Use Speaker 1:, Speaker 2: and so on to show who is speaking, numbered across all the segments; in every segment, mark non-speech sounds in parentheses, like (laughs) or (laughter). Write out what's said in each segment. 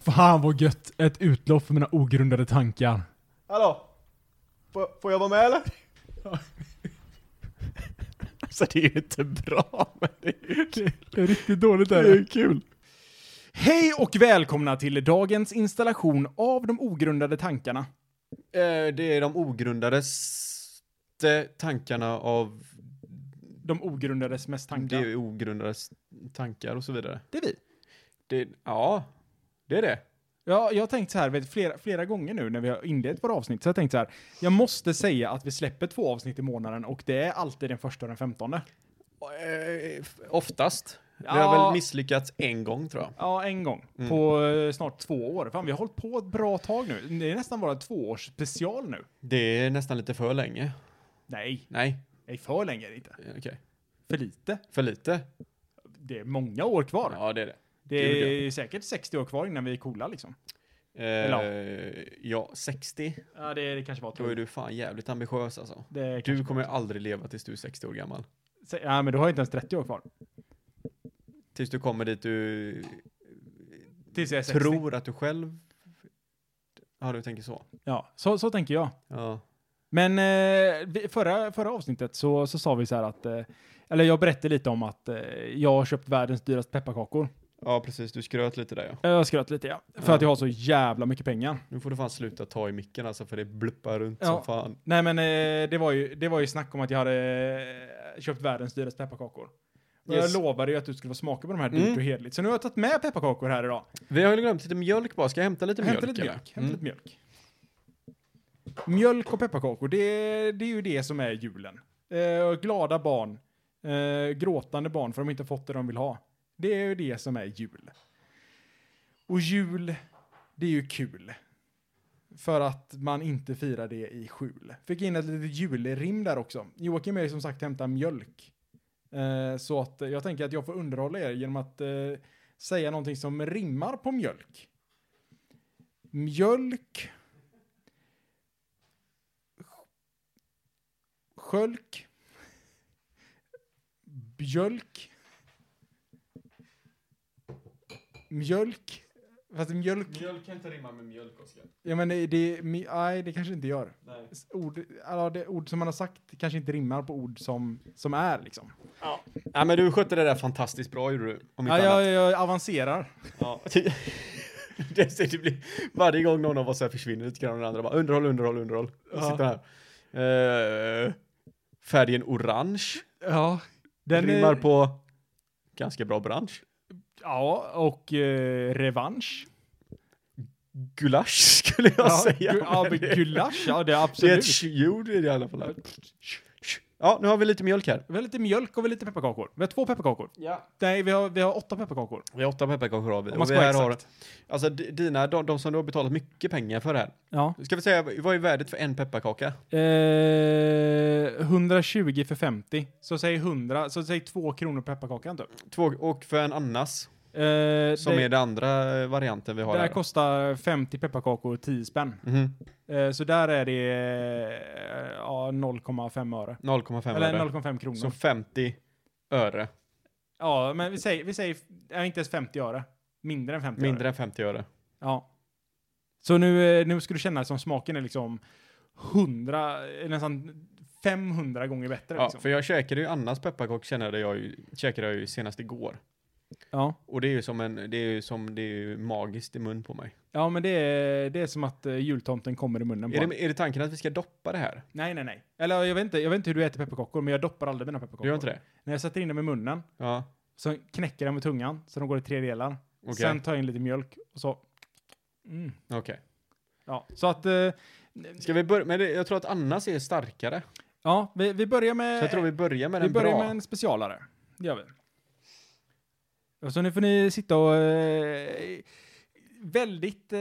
Speaker 1: Fan vad gött! Ett utlopp för mina ogrundade tankar.
Speaker 2: Hallå? Får, får jag vara med eller?
Speaker 3: (laughs) Alltså det är ju inte bra, men det är ju kul.
Speaker 1: Det är riktigt dåligt
Speaker 3: Det är ju kul.
Speaker 1: Hej och välkomna till dagens installation av de ogrundade tankarna.
Speaker 3: Eh, Det är de ogrundadeste tankarna av
Speaker 1: De ogrundades mest tankar.
Speaker 3: det är ogrundades tankar och så vidare.
Speaker 1: Det är vi.
Speaker 3: Det, ja, det är det.
Speaker 1: Ja, jag har tänkt så här vet, flera, flera gånger nu när vi har inlett våra avsnitt, så jag har tänkt så här. Jag måste säga att vi släpper två avsnitt i månaden och det är alltid den första och den femtonde.
Speaker 3: Eh, Oftast. Vi har
Speaker 1: Ja.
Speaker 3: väl misslyckats en gång tror jag.
Speaker 1: Ja, en gång. På eh, snart två år. Fan, vi har hållit på ett bra tag nu. Det är nästan våra tvåårsspecial nu.
Speaker 3: Det är nästan lite för länge.
Speaker 1: Nej,
Speaker 3: Nej,
Speaker 1: nej för länge är det inte.
Speaker 3: eh, okej.
Speaker 1: För lite.
Speaker 3: För lite.
Speaker 1: Det är många år kvar.
Speaker 3: Ja, det är det.
Speaker 1: det
Speaker 3: det
Speaker 1: är
Speaker 3: gjorde
Speaker 1: säkert 60 år kvar innan vi är coola liksom.
Speaker 3: Eh, ja, 60.
Speaker 1: Ja, det, det kanske var
Speaker 3: Då är du fan jävligt ambitiös alltså.
Speaker 1: Det
Speaker 3: Du kommer ju aldrig leva tills du är 60 år gammal.
Speaker 1: Se- Ja, men du har ju inte ens 30 år kvar.
Speaker 3: Tills du kommer dit du
Speaker 1: Tills jag är 60.
Speaker 3: tror att du själv... Ja, du tänker så.
Speaker 1: Ja, så, så tänker jag.
Speaker 3: Ja.
Speaker 1: Men eh, vi- förra, förra avsnittet så, så sa vi så här att, eh, eller jag berättade lite om att eh, jag har köpt världens dyraste pepparkakor.
Speaker 3: ja, precis. Du skröt lite där ja.
Speaker 1: Jag skröt lite ja, för
Speaker 3: Ja.
Speaker 1: att jag har så jävla mycket pengar.
Speaker 3: Nu får du fan sluta ta i micken alltså, för det bluppar runt
Speaker 1: Ja.
Speaker 3: som fan.
Speaker 1: Nej men eh, det, var ju, det var ju snack om att jag hade eh, köpt världens dyraste pepparkakor. Och
Speaker 3: Yes.
Speaker 1: Jag lovade ju att du skulle få smaka på de här
Speaker 3: Mm.
Speaker 1: dyrt och hederligt. Så nu har jag tagit med pepparkakor här idag.
Speaker 3: Vi har ju glömt lite mjölk bara. Ska jag hämta lite
Speaker 1: Hämta
Speaker 3: mjölk?
Speaker 1: lite
Speaker 3: eller? Mm.
Speaker 1: mjölk. Hämta lite mjölk. Mjölk och pepparkakor, det, det är ju det som är julen. Eh, och glada barn, eh, gråtande barn för de har inte fått det de vill ha. Det är ju det som är jul. Och jul, det är ju kul. För att man inte firar det i skjul. Fick in ett litet julrim där också. Joakim är ju som sagt hämta mjölk. Eh, så att jag tänker att jag får underhålla er genom att eh, säga någonting som rimmar på mjölk mjölk, skölk, bjölk, mjölk, fast mjölk,
Speaker 3: Mjölk kan inte rimma med mjölk, Oskar.
Speaker 1: ja men det, det, mi- nej det kanske inte gör.
Speaker 3: Nej.
Speaker 1: S- Ord, alla det, ord som man har sagt kanske inte rimmar på ord som, som är liksom.
Speaker 3: Ja, men du skötte det där fantastiskt bra gjorde du. Om
Speaker 1: Ja,
Speaker 3: inte annat.
Speaker 1: jag, jag avancerar.
Speaker 3: Ja. (laughs) det, ser- det blir, varje gång någon av oss här försvinner lite grann och den andra bara underhåll, underhåll, underhåll. Och
Speaker 1: Ja.
Speaker 3: sitter här. Eh, färgen orange
Speaker 1: Ja, den
Speaker 3: rimmar
Speaker 1: är,
Speaker 3: på ganska bra bransch.
Speaker 1: Ja, och eh, revansch.
Speaker 3: Gulasch (laughs) skulle jag
Speaker 1: ja,
Speaker 3: säga.
Speaker 1: gu- ja,
Speaker 3: men
Speaker 1: men
Speaker 3: det-
Speaker 1: gulasch, ja det är
Speaker 3: det är
Speaker 1: absolut.
Speaker 3: ett tjur i alla fall. Ja, nu har vi lite mjölk här.
Speaker 1: Vi har lite mjölk och vi har lite pepparkakor. Vi har två pepparkakor.
Speaker 3: Ja.
Speaker 1: Nej, vi har, vi har åtta pepparkakor.
Speaker 3: Vi har åtta pepparkakor har vi.
Speaker 1: Om man
Speaker 3: Och vi
Speaker 1: ska vara
Speaker 3: här har,
Speaker 1: exakt.
Speaker 3: alltså d- dina, de, de som du har betalat mycket pengar för här.
Speaker 1: Ja.
Speaker 3: Ska vi säga, vad är värdet för en pepparkaka?
Speaker 1: Eh, 120 för 50. Så säg 100, så säg 2 kronor pepparkakan typ.
Speaker 3: Två, och för en annas?
Speaker 1: Eh,
Speaker 3: Som
Speaker 1: det,
Speaker 3: är den andra eh, varianten vi har
Speaker 1: det här
Speaker 3: här.
Speaker 1: kostar 50 pepparkakor 10 spänn.
Speaker 3: Mhm.
Speaker 1: Eh, så där är det eh, ja, 0,5 öre.
Speaker 3: 0,5
Speaker 1: Eller
Speaker 3: öre.
Speaker 1: 0,5 kronor.
Speaker 3: Så 50 öre.
Speaker 1: Ja, men vi säger, vi säger ja, inte ens 50 öre. Mindre än 50 öre.
Speaker 3: Mindre än 50 öre.
Speaker 1: Ja. Så nu, eh, nu ska du känna som smaken är liksom 100, eh, nästan 500 gånger bättre.
Speaker 3: Ja,
Speaker 1: liksom.
Speaker 3: för jag käkade ju Annas pepparkak kände jag ju, käkade jag ju senast igår.
Speaker 1: ja.
Speaker 3: Och det är ju som en, det är ju som, det är ju magiskt i mun på mig.
Speaker 1: ja, men det är, det är som att eh, jultomten kommer i munnen på
Speaker 3: Är
Speaker 1: en.
Speaker 3: det, är det tanken att vi ska doppa det här?
Speaker 1: Nej, nej, nej. Eller jag vet, inte, jag vet inte hur du äter pepparkakor, men jag doppar aldrig mina pepparkakor.
Speaker 3: Du gör inte det?
Speaker 1: När jag sätter in dem i munnen,
Speaker 3: Ja,
Speaker 1: så knäcker jag dem med tungan, så de går i tre delar.
Speaker 3: okej.
Speaker 1: Sen tar jag in lite mjölk och så... Mm.
Speaker 3: Okej.
Speaker 1: Ja, så att... eh,
Speaker 3: Ska vi börja, men det, jag tror att Annas är starkare.
Speaker 1: Ja, vi, vi börjar med...
Speaker 3: Så jag tror vi börjar med
Speaker 1: Vi
Speaker 3: den
Speaker 1: börjar
Speaker 3: bra.
Speaker 1: med en specialare. Det gör vi. Och så nu får ni sitta och... Eh, väldigt eh,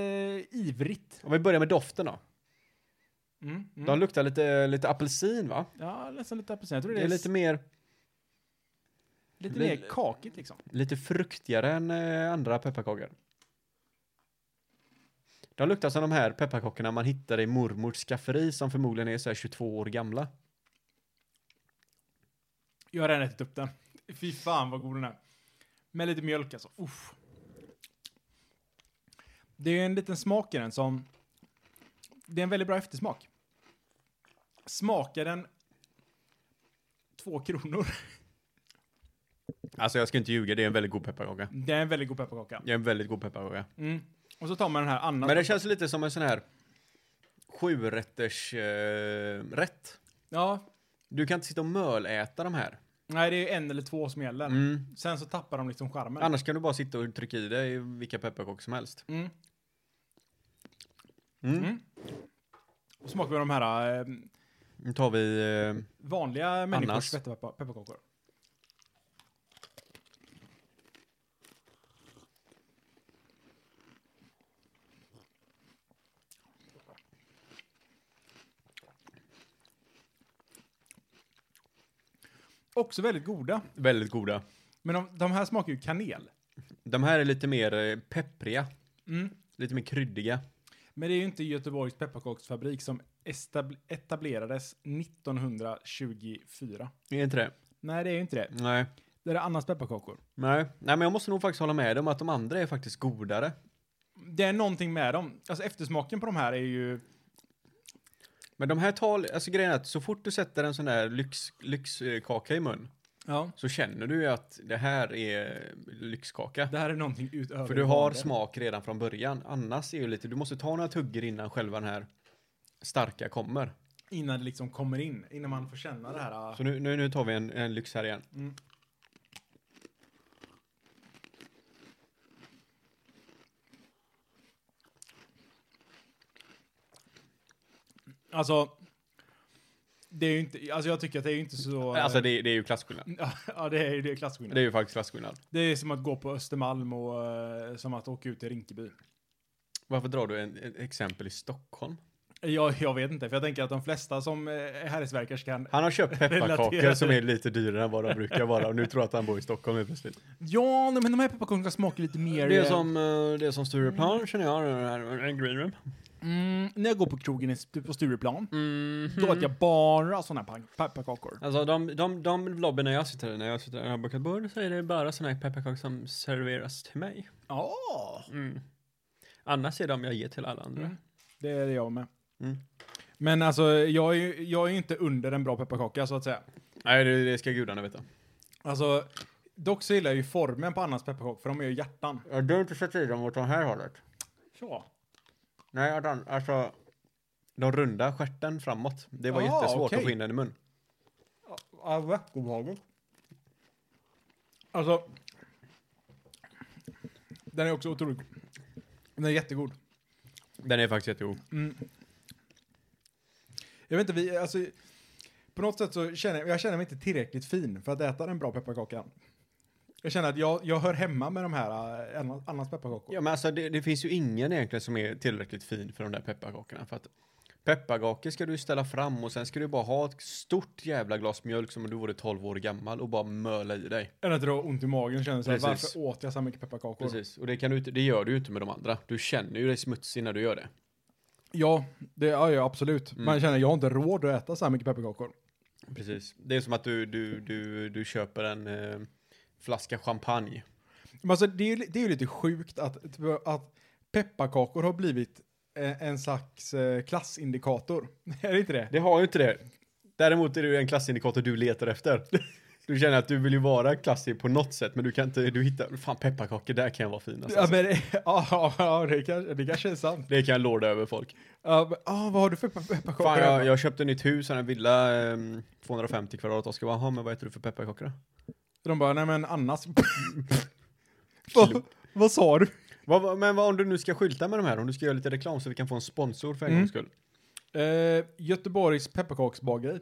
Speaker 1: ivrigt.
Speaker 3: Om vi börjar med doften då.
Speaker 1: Mm, mm.
Speaker 3: De luktar lite, lite apelsin va?
Speaker 1: Ja, nästan lite apelsin. Jag tror
Speaker 3: Det är lite mer,
Speaker 1: lite
Speaker 3: li-
Speaker 1: mer kakigt liksom.
Speaker 3: lite fruktigare än eh, andra pepparkakor. De luktar som de här pepparkakorna man hittar i mormors skafferi som förmodligen är så här 22 år gamla.
Speaker 1: Jag har redan ätit upp den. (laughs) Fy fan vad god den är. Med lite mjölk alltså. Uff. Det är ju en liten smak i den som... Det är en väldigt bra eftersmak. Smakar den två kronor? (laughs)
Speaker 3: Alltså jag ska inte ljuga, det är en väldigt god pepparkaka.
Speaker 1: Det är en väldigt god pepparkaka.
Speaker 3: Det är en väldigt god pepparkaka.
Speaker 1: Mm. Och så tar man den här annars.
Speaker 3: Men det känns lite som en sån här sjurätters eh, rätt.
Speaker 1: Ja,
Speaker 3: Du kan inte sitta och möläta de här.
Speaker 1: nej det är ju en eller två som gäller.
Speaker 3: Mm.
Speaker 1: Sen så tappar de liksom charmen.
Speaker 3: Annars kan du bara sitta och trycka i dig vilka pepparkakor som helst.
Speaker 1: Mm.
Speaker 3: Mm.
Speaker 1: Mm. Och smakar vi de här eh,
Speaker 3: Nu tar vi... Eh,
Speaker 1: vanliga människors
Speaker 3: Annas.
Speaker 1: pepparkakor. pepparkakor. Också väldigt goda.
Speaker 3: väldigt goda.
Speaker 1: Men de, de här smakar ju kanel.
Speaker 3: De här är lite mer eh, peppriga.
Speaker 1: Mm.
Speaker 3: Lite mer kryddiga.
Speaker 1: Men det är ju inte Göteborgs pepparkaksfabrik som estab- etablerades 1924.
Speaker 3: Är inte det?
Speaker 1: Nej, det är ju inte det.
Speaker 3: Nej.
Speaker 1: Det är Annas pepparkakor.
Speaker 3: Nej. Nej, men jag måste nog faktiskt hålla med dig om att de andra är faktiskt godare.
Speaker 1: Det är någonting med dem. Alltså eftersmaken på de här är ju...
Speaker 3: Men de här tal, alltså grejen är att så fort du sätter en sån där lyx, lyxkaka i mun
Speaker 1: Ja.
Speaker 3: så känner du ju att det här är lyxkaka.
Speaker 1: Det här är någonting utöver
Speaker 3: För du
Speaker 1: det
Speaker 3: har
Speaker 1: vanliga.
Speaker 3: smak redan från början. Annars är ju lite, du måste ta några tuggor innan själva den här starka kommer.
Speaker 1: Innan det liksom kommer in. Innan man får känna det här. äh,
Speaker 3: Så nu, nu, nu tar vi en, en lyx här igen.
Speaker 1: Mm. Alltså... Det är ju inte... Alltså jag tycker att det är ju inte så... äh,
Speaker 3: (laughs) Alltså det, det är ju klasskillnad.
Speaker 1: (laughs) ja, det är ju det är klasskillnad.
Speaker 3: Det är ju faktiskt klasskillnad.
Speaker 1: Det är som att gå på Östermalm och eh, som att åka ut till Rinkeby.
Speaker 3: Varför drar du en, ett exempel i Stockholm?
Speaker 1: Jag, jag vet inte, för jag tänker att de flesta som eh, är herresverkare kan...
Speaker 3: Han har (laughs) köpt pepparkakor
Speaker 1: Relaterat.
Speaker 3: som är lite dyrare än vad de brukar vara och nu tror jag att han bor i Stockholm helt plötsligt.
Speaker 1: Ja, nej, men de här pepparkakorna smakar lite mer...
Speaker 3: Det är
Speaker 1: eh,
Speaker 3: som, eh, det är som Stureplan känner jag, den här- en green room.
Speaker 1: Mm, när jag går på krogen i Stu- på Stureplan,
Speaker 3: Mhm. Mm.
Speaker 1: då åt jag bara såna här pa- pepparkakor.
Speaker 3: Alltså de, de, de lobbyn när jag sitter där, när jag sitter och har bokat bord så är det bara såna här pepparkakor som serveras till mig.
Speaker 1: Ja!
Speaker 3: Mm. Annars är de jag ger till alla andra.
Speaker 1: Mm. Det är det jag med.
Speaker 3: Mm.
Speaker 1: Men alltså, jag är ju jag är ju inte under en bra pepparkaka, så att säga.
Speaker 3: Nej, det, det ska gudarna veta.
Speaker 1: Alltså, dock så gillar jag ju formen på Annas pepparkakor, för de är ju hjärtan.
Speaker 3: Du har inte sett i dem åt det här hållet?
Speaker 1: Ja.
Speaker 3: Nej, Adam, alltså. De runda stjärten framåt. Det var
Speaker 1: Ah,
Speaker 3: jättesvårt
Speaker 1: okej.
Speaker 3: att få in den i mun.
Speaker 1: Ja, väldigt obehagligt. Alltså. Den är också otroligt god. Den är jättegod.
Speaker 3: Den är faktiskt jättegod.
Speaker 1: Mm. Jag vet inte, vi, alltså. På något sätt så känner jag, jag känner mig inte tillräckligt fin för att äta den bra pepparkakan. Jag känner att jag, jag hör hemma med de här äh, annan- annans pepparkakor.
Speaker 3: Ja, men alltså det, det finns ju ingen egentligen som är tillräckligt fin för de där pepparkakorna. För att pepparkakor ska du ställa fram och sen ska du bara ha ett stort jävla glas mjölk som om du vore 12 år gammal och bara möla i dig.
Speaker 1: Än att det har ont i magen känner jag så här,
Speaker 3: Precis.
Speaker 1: varför åt jag så här mycket pepparkakor?
Speaker 3: Precis, och det, kan du, inte- det gör du ju inte med de andra. Du känner ju dig smutsig när du gör det.
Speaker 1: Ja, det ja, ja, absolut.
Speaker 3: Mm.
Speaker 1: Man känner, jag har inte råd att äta så här mycket pepparkakor.
Speaker 3: Precis. Det är som att du, du, du, du köper en eh, flaska champagne.
Speaker 1: Men alltså, det, är, ju li- det är ju lite sjukt att, att pepparkakor har blivit eh, en slags eh, klassindikator. (laughs) är det inte det?
Speaker 3: Det har ju inte det. Däremot är det ju en klassindikator du letar efter. (laughs) Du känner att du vill ju vara klassig på något sätt, men du kan inte, du hittar, fan pepparkakor, där kan jag vara finast.
Speaker 1: Ja,
Speaker 3: Alltså.
Speaker 1: men, (laughs) ja, ja, ja, det, kanske, det kanske är sant.
Speaker 3: Det kan jag lorda över folk.
Speaker 1: Ja, men, ah, vad har du för pe- pepparkakor?
Speaker 3: Fan,
Speaker 1: hemma?
Speaker 3: jag, jag köpte nytt hus, en villa, ehm, 250 kvadrat. Oskar bara, "Jaha, men vad äter du för pepparkakor då?
Speaker 1: De bara, nej men
Speaker 3: (laughs)
Speaker 1: annars. vad, vad sa du?
Speaker 3: Vad- vad- men vad, om du nu ska skylta med de här, om du ska göra lite reklam så vi kan få en sponsor för en
Speaker 1: Mm.
Speaker 3: gångs skull.
Speaker 1: Eh, Göteborgs pepparkaksbageri.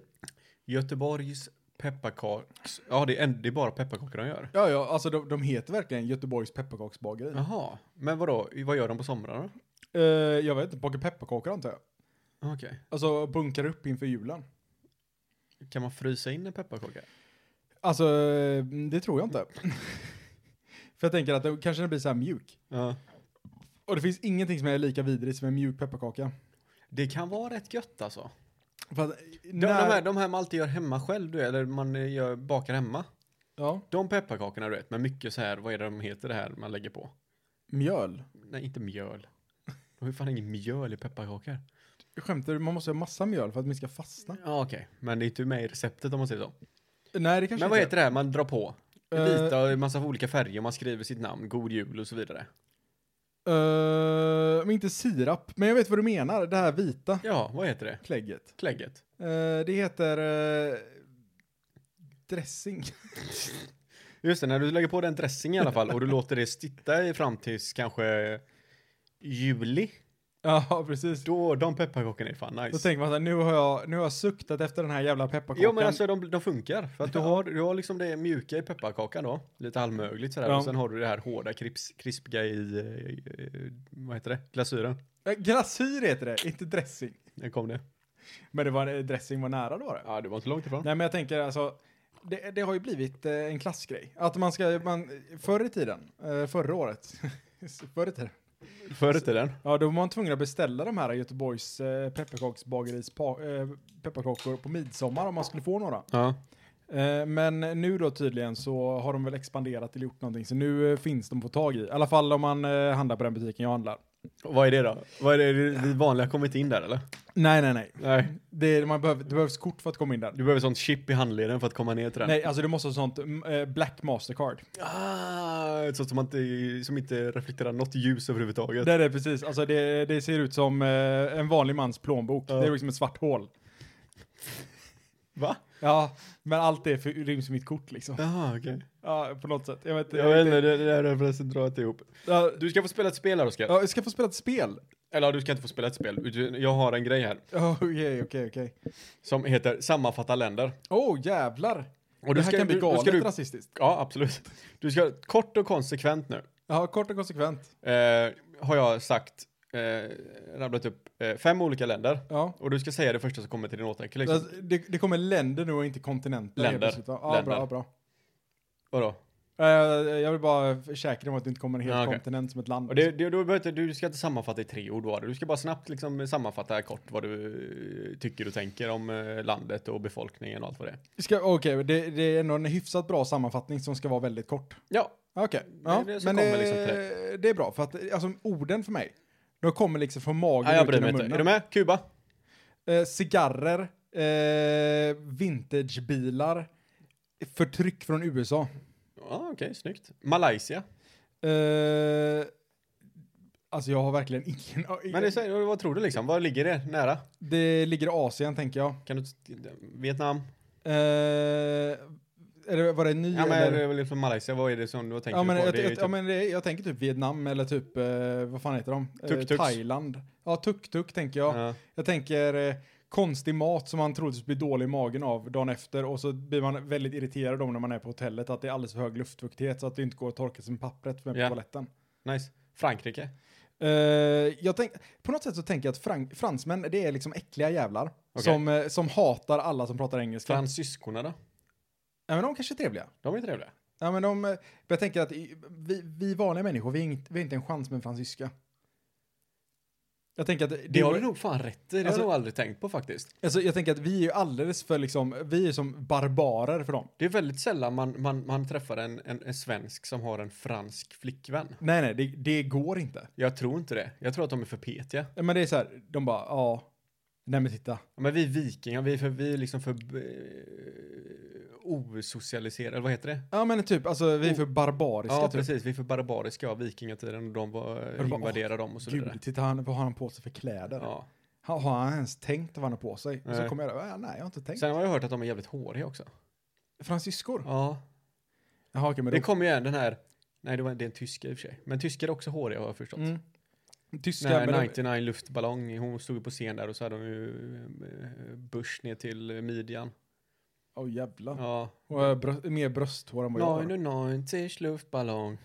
Speaker 3: Göteborgs pepparkaks... Ja, det är, en, det är bara pepparkakor de gör.
Speaker 1: Ja, ja, alltså de, de heter verkligen Göteborgs pepparkaksbageri.
Speaker 3: Jaha, men vadå, vad gör de på somrarna
Speaker 1: Eh, jag vet inte, bakar pepparkakor antar jag.
Speaker 3: då? Ah, Okej.
Speaker 1: Alltså bunkar upp inför julen.
Speaker 3: Kan man frysa in en pepparkaka?
Speaker 1: Alltså, det tror jag inte. (laughs) För jag tänker att det, kanske den blir så här mjuk.
Speaker 3: Ja.
Speaker 1: Och det finns ingenting som är lika vidrigt som en mjuk pepparkaka.
Speaker 3: Det kan vara rätt gött alltså.
Speaker 1: För att,
Speaker 3: De,
Speaker 1: när,
Speaker 3: de, här, de här man alltid gör hemma själv, du, vet, eller man eh, gör, bakar hemma.
Speaker 1: ja,
Speaker 3: De pepparkakorna du vet, med mycket så här, vad är det de heter det här man lägger på?
Speaker 1: mjöl.
Speaker 3: Nej, inte mjöl. Och hur fan är inget mjöl i pepparkakor?
Speaker 1: Skämtar du? Man måste ha massa mjöl för att min ska fastna.
Speaker 3: Ja, okej. Men det är inte med i receptet om man säger så.
Speaker 1: Nej, det kanske
Speaker 3: Men vad
Speaker 1: inte
Speaker 3: heter det här man drar på?
Speaker 1: Eh.
Speaker 3: Vita och en massa olika färger, man skriver sitt namn, god jul och så vidare.
Speaker 1: Eh, men inte sirap. Men jag vet vad du menar. Det här vita
Speaker 3: Ja, vad heter det?
Speaker 1: klägget.
Speaker 3: Klägget.
Speaker 1: Eh, det heter... eh, dressing. (laughs)
Speaker 3: Just det, när du lägger på den dressing i alla fall och du låter det sitta i fram tills kanske juli.
Speaker 1: ja, precis.
Speaker 3: Då, de pepparkakorna är fan
Speaker 1: Då
Speaker 3: nice.
Speaker 1: tänker man så här, nu har jag, nu har jag suktat efter den här jävla pepparkakan.
Speaker 3: Jo men alltså de, de funkar. För att du,
Speaker 1: Ja.
Speaker 3: har, du har liksom det mjuka i pepparkakan då. Lite halvmögligt sådär.
Speaker 1: Ja.
Speaker 3: Och sen har du det här hårda krips, krispiga i, eh, eh, vad heter det? Glasyren.
Speaker 1: Eh, Glasyr heter det, inte dressing.
Speaker 3: Där kom det.
Speaker 1: Men det var, eh, dressing var nära då. det.
Speaker 3: Ja det var inte långt ifrån.
Speaker 1: Nej, men jag tänker alltså, det, det har ju blivit eh, en klassgrej. Att man ska, man, förr i tiden, eh, förra året, (laughs) förr i tiden,
Speaker 3: Förr i tiden.
Speaker 1: Ja, då var man tvungen att beställa de här Göteborgs eh, pepparkaksbagaris pa- eh, pepparkakor på midsommar om man skulle få några.
Speaker 3: Ja.
Speaker 1: Eh, men nu då tydligen så har de väl expanderat eller gjort någonting, så nu eh, finns de på tag i. I alla fall om man eh, handlar på den butiken jag handlar.
Speaker 3: Och Vad är det då? Vad är det, är det vi vanliga kommit in där eller?
Speaker 1: Nej, nej, nej.
Speaker 3: Nej.
Speaker 1: Det, är- man behöver, det behövs kort för att komma in där.
Speaker 3: Du behöver sånt chip i handleden för att komma ner till den.
Speaker 1: Nej, alltså du måste ha sånt mm, eh, black mastercard.
Speaker 3: Ah, ett sånt som inte, som inte reflekterar något ljus överhuvudtaget.
Speaker 1: Det är det precis, alltså det, det ser ut som eh, en vanlig mans plånbok.
Speaker 3: Ja.
Speaker 1: Det är liksom ett svart hål.
Speaker 3: Va?
Speaker 1: Ja, men allt det för- ryms i mitt kort liksom.
Speaker 3: Jaha, okej.
Speaker 1: Ja, på något sätt. Jag vet inte.
Speaker 3: Jag vet inte, det det där har jag förresten dragit ihop.
Speaker 1: Ja,
Speaker 3: Du ska få spela ett spel här Oskar.
Speaker 1: Ja, jag ska få spela ett spel.
Speaker 3: Eller du ska inte få spela ett spel. utan Jag har en grej här.
Speaker 1: Oh, (laughs) Okej, okej, okej.
Speaker 3: Som heter Sammanfatta länder.
Speaker 1: Åh, jävlar.
Speaker 3: Och
Speaker 1: det här kan bli
Speaker 3: då
Speaker 1: galet
Speaker 3: ska du,
Speaker 1: rasistiskt.
Speaker 3: Ja, absolut. Du ska, kort och konsekvent nu,
Speaker 1: Ja, kort och konsekvent.
Speaker 3: eh, har jag sagt, eh, rabblat upp eh, fem olika länder.
Speaker 1: Ja.
Speaker 3: Och du ska säga det första som kommer till din åtanke liksom.
Speaker 1: Alltså, Det, det kommer länder nu och inte kontinenter. helt
Speaker 3: Länder.
Speaker 1: plötsligt, va? Ja,
Speaker 3: Länder.
Speaker 1: bra, bra.
Speaker 3: Vadå?
Speaker 1: Eh, jag vill bara försäkra mig om att det inte kommer en hel
Speaker 3: Ja, okej.
Speaker 1: kontinent som ett land.
Speaker 3: Och det, det, du, behöver, inte- du ska inte sammanfatta i tre ord var det. Du ska bara snabbt liksom sammanfatta kort vad du eh, tycker och tänker om eh, landet och befolkningen och allt vad det är.
Speaker 1: Ska- Okej, det, det är ändå en hyfsat bra sammanfattning som ska vara väldigt kort.
Speaker 3: Ja,
Speaker 1: Okej, ja,
Speaker 3: det är det som
Speaker 1: men det,
Speaker 3: kommer liksom till
Speaker 1: det är bra för att alltså, orden för mig, de kommer liksom från magen
Speaker 3: nej, jag
Speaker 1: ut
Speaker 3: bryr mig
Speaker 1: genom
Speaker 3: inte. Är du
Speaker 1: munnen.
Speaker 3: med? Kuba?
Speaker 1: Eh, cigarrer, eh, vintagebilar, förtryck från USA.
Speaker 3: Ja, okej, snyggt. Malaysia?
Speaker 1: Eh, alltså jag har verkligen ingen aning.
Speaker 3: Men det, är så här, vad tror du liksom? Var ligger det? Nära?
Speaker 1: Det ligger i Asien tänker jag.
Speaker 3: Kan du... Vietnam?
Speaker 1: Eh, är det, var det en ny
Speaker 3: Ja, men
Speaker 1: eller?
Speaker 3: det är väl från Malaysia. Vad är det som du tänker
Speaker 1: ja, men,
Speaker 3: på?
Speaker 1: jag,
Speaker 3: det är ju
Speaker 1: jag,
Speaker 3: typ,
Speaker 1: ja, men det, jag tänker typ Vietnam eller typ, eh, vad fan heter de? Eh,
Speaker 3: Tuk-tuks.
Speaker 1: Thailand. Ja, tuk-tuk tänker jag.
Speaker 3: ja.
Speaker 1: Jag tänker eh, konstig mat som man troligtvis blir dålig i magen av dagen efter och så blir man väldigt irriterad om när man är på hotellet att det är alldeles för hög luftfuktighet så att det inte går att torka sig med pappret med
Speaker 3: Ja.
Speaker 1: på toaletten.
Speaker 3: Nice. Frankrike?
Speaker 1: Eh, jag tänk, på något sätt så tänker jag att frank, fransmän, det är liksom äckliga jävlar.
Speaker 3: Okej.
Speaker 1: Som, eh, som hatar alla som pratar engelska.
Speaker 3: Fransyskorna då?
Speaker 1: Ja, men de kanske är trevliga.
Speaker 3: De är trevliga.
Speaker 1: Ja, men de, eh, jag tänker att i- vi, vi vanliga människor, vi har, inte, vi har inte en chans med en fransyska. Jag tänker att, det,
Speaker 3: Det har du nog fan rätt i. Det har
Speaker 1: Alltså-
Speaker 3: jag nog aldrig tänkt på faktiskt.
Speaker 1: alltså, jag tänker att vi är ju alldeles för liksom, vi är som barbarer för dem.
Speaker 3: Det är väldigt sällan man, man, man träffar en, en, en svensk som har en fransk flickvän.
Speaker 1: Nej, nej, det, det går inte.
Speaker 3: Jag tror inte det. Jag tror att de är för petiga.
Speaker 1: Ja, Men det är så här, de bara, ja, nej men titta.
Speaker 3: Ja, Men vi är vikingar, vi är, för, vi är liksom för eh, osocialiserade, vad heter det?
Speaker 1: Ja men typ, alltså vi är för barbariska
Speaker 3: Oh. Ja,
Speaker 1: typ.
Speaker 3: precis. Vi är för barbariska av vikingatiden och de var,
Speaker 1: bara,
Speaker 3: invaderade dem och så vidare.
Speaker 1: Gud, titta han, vad har han på sig för kläder?
Speaker 3: Ja.
Speaker 1: Har, har han ens tänkt vad han har på sig? Och så
Speaker 3: Nej.
Speaker 1: kommer jag där, "Äh, nej jag har inte tänkt.
Speaker 3: Sen har jag hört att de är jävligt håriga också.
Speaker 1: Fransyskor?
Speaker 3: Ja.
Speaker 1: Jaha okej, men
Speaker 3: Det
Speaker 1: då...
Speaker 3: kommer ju en, den här, nej det, var, det är en tysker i och för sig, men tyskar är också håriga har jag förstått.
Speaker 1: Mm. Tyska,
Speaker 3: När
Speaker 1: men de-
Speaker 3: 99 luftballong, hon stod ju på scen där och så hade hon ju eh, bush ner till eh, midjan.
Speaker 1: Åh jävlar.
Speaker 3: Ja.
Speaker 1: Och eh, brö... mer brösthår än vad jag har.
Speaker 3: 99 luftballong.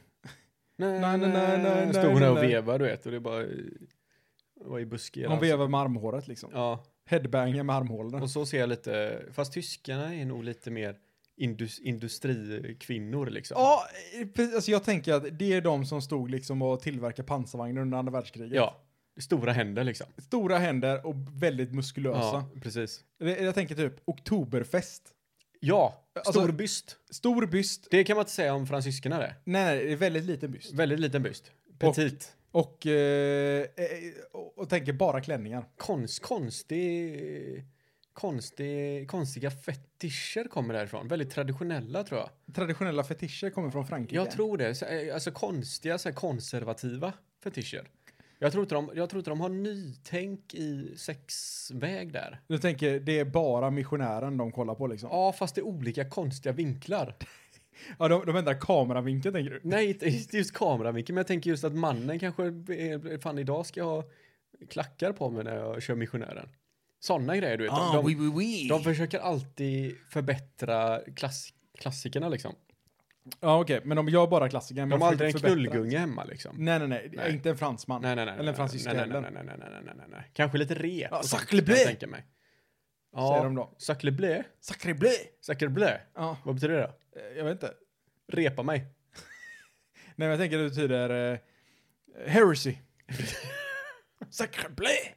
Speaker 1: (laughs)
Speaker 3: Nej,
Speaker 1: Nej, nej, nej, nej,
Speaker 3: Stod hon där och
Speaker 1: nej.
Speaker 3: vevade du vet och det bara eh, var ju buskigare.
Speaker 1: Hon
Speaker 3: alltså.
Speaker 1: vevar med armhåret liksom.
Speaker 3: Ja,
Speaker 1: Headbanger med armhålorna.
Speaker 3: och så ser jag lite, fast tyskarna är nog lite mer indus, industrikvinnor liksom.
Speaker 1: Ja, eh, precis. alltså jag tänker att det är de som stod liksom och tillverkade pansarvagnar under andra världskriget.
Speaker 3: Ja, stora händer liksom.
Speaker 1: Stora händer och väldigt muskulösa.
Speaker 3: Ja, precis.
Speaker 1: Det- Jag tänker typ oktoberfest.
Speaker 3: Ja,
Speaker 1: Alltså-
Speaker 3: stor byst.
Speaker 1: Stor byst.
Speaker 3: Det kan man inte säga om fransyskorna det.
Speaker 1: Nej, nej, det är väldigt liten byst.
Speaker 3: Väldigt liten byst. Petit.
Speaker 1: Och, eh, eh, och, och tänker bara klänningar.
Speaker 3: Konst, konstig, konstig, konstiga fetischer kommer därifrån. Väldigt traditionella tror jag.
Speaker 1: Traditionella fetischer kommer från Frankrike.
Speaker 3: Jag tror det. Så, eh, Alltså konstiga, så här konservativa fetischer. Jag tror, inte de, jag tror inte de har nytänk i sexväg där.
Speaker 1: Du tänker, det är bara missionären de kollar på liksom?
Speaker 3: Ja, fast det är olika konstiga vinklar.
Speaker 1: Ja, de, de ändrar kameravinkeln tänker du?
Speaker 3: Nej, inte inte just kameravinkeln, men jag tänker just att mannen kanske, är- fan idag ska jag ha klackar på mig när jag kör missionären. Sådana grejer du vet. De- de,
Speaker 1: Ah, oui, oui.
Speaker 3: de försöker alltid förbättra klass, klassikerna liksom.
Speaker 1: Ja, okej, men de gör bara klassiker.
Speaker 3: De har aldrig en knullgunga hemma liksom.
Speaker 1: Nej, nej, nej,
Speaker 3: Nej.
Speaker 1: inte en fransman.
Speaker 3: Nej, nej, nej.
Speaker 1: Eller en fransyska
Speaker 3: nej, nej,
Speaker 1: heller.
Speaker 3: nej, nej, nej, nej, nej, nej, nej. Kanske lite rep.
Speaker 1: Ja,
Speaker 3: och sånt,
Speaker 1: sacre
Speaker 3: kan jag
Speaker 1: bleu.
Speaker 3: tänka mig.
Speaker 1: Säger de då.
Speaker 3: Sacre bleu.
Speaker 1: Sacré bleu!
Speaker 3: Sacre bleu.
Speaker 1: Ja,
Speaker 3: Vad betyder det då?
Speaker 1: eh, jag vet inte.
Speaker 3: Repa mig.
Speaker 1: Nej, men jag tänker det betyder eh, heresy.
Speaker 3: (laughs)
Speaker 1: Sacré bleu!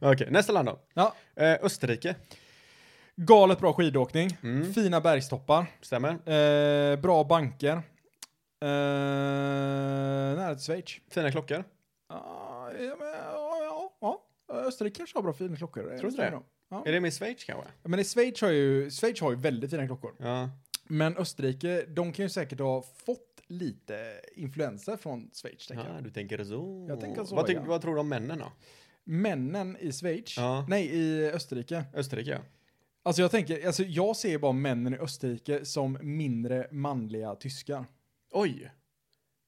Speaker 3: Okej, nästa land då.
Speaker 1: Ja,
Speaker 3: Eh, Österrike.
Speaker 1: galet bra skidåkning.
Speaker 3: Mm.
Speaker 1: Fina bergstoppar.
Speaker 3: Stämmer.
Speaker 1: Eh, bra banker. Eh, nära till Schweiz.
Speaker 3: Fina klockor.
Speaker 1: Ja, ja, men, ja, ja, ja. Österrike kanske har bra fina klockor.
Speaker 3: Tror du det?
Speaker 1: Ja.
Speaker 3: Är det med Schweiz kanske?
Speaker 1: Men i Schweiz har ju, Schweiz har ju väldigt fina klockor.
Speaker 3: Ja.
Speaker 1: Men Österrike, de kan ju säkert ha fått lite influenser från Schweiz, tänker jag.
Speaker 3: Ja, Ah, du tänker så.
Speaker 1: Jag tänker så,
Speaker 3: vad,
Speaker 1: ja.
Speaker 3: vad tror du om männen då?
Speaker 1: Männen i Schweiz,
Speaker 3: Ja.
Speaker 1: nej i Österrike.
Speaker 3: Österrike ja.
Speaker 1: Alltså jag tänker, alltså jag ser bara männen i Österrike som mindre manliga tyskar.
Speaker 3: Oj!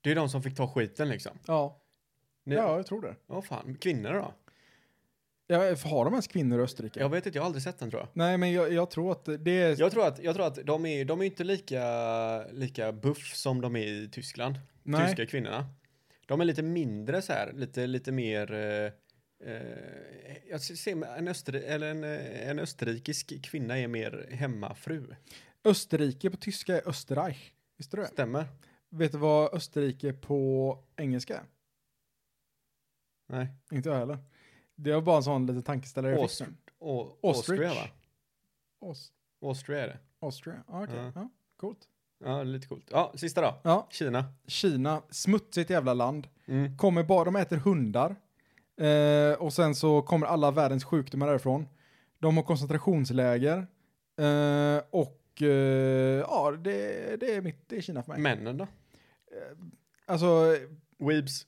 Speaker 3: Det är de som fick ta skiten liksom.
Speaker 1: Ja,
Speaker 3: Ni,
Speaker 1: ja jag tror det.
Speaker 3: Åh, fan. Kvinnor då?
Speaker 1: Ja, har de ens kvinnor i Österrike?
Speaker 3: Jag vet inte, jag har aldrig sett den tror jag.
Speaker 1: Nej, men jag, jag tror att det är...
Speaker 3: Jag tror att, jag tror att de, är, de är inte lika, lika buff som de är i Tyskland.
Speaker 1: Nej.
Speaker 3: Tyska kvinnorna. De är lite mindre så här, lite, lite mer... Eh, eh, jag ser en, öster, eller en, eh, en österrikisk kvinna är mer hemmafru.
Speaker 1: Österrike på tyska är Österreich. Visste du det?
Speaker 3: Stämmer?
Speaker 1: Vet du vad Österrike på engelska är?
Speaker 3: Nej.
Speaker 1: Inte jag heller. Det var bara en sån liten tankeställare jag fick
Speaker 3: Aust-
Speaker 1: nu.
Speaker 3: Å-
Speaker 1: Ostrich.
Speaker 3: Austria va?
Speaker 1: Aus-
Speaker 3: Austria är det.
Speaker 1: Austria. Ja, okej.
Speaker 3: Ja.
Speaker 1: Ja, coolt.
Speaker 3: Ja, lite coolt. Ja, sista då.
Speaker 1: Ja,
Speaker 3: Kina.
Speaker 1: Kina. Smutsigt jävla land.
Speaker 3: Mm.
Speaker 1: Kommer bara, de äter hundar. Eh, och sen så kommer alla världens sjukdomar därifrån. De har koncentrationsläger. Eh, och eh, ja, det, det, är mitt, det är Kina för mig.
Speaker 3: Männen då?
Speaker 1: Alltså,
Speaker 3: Weebs.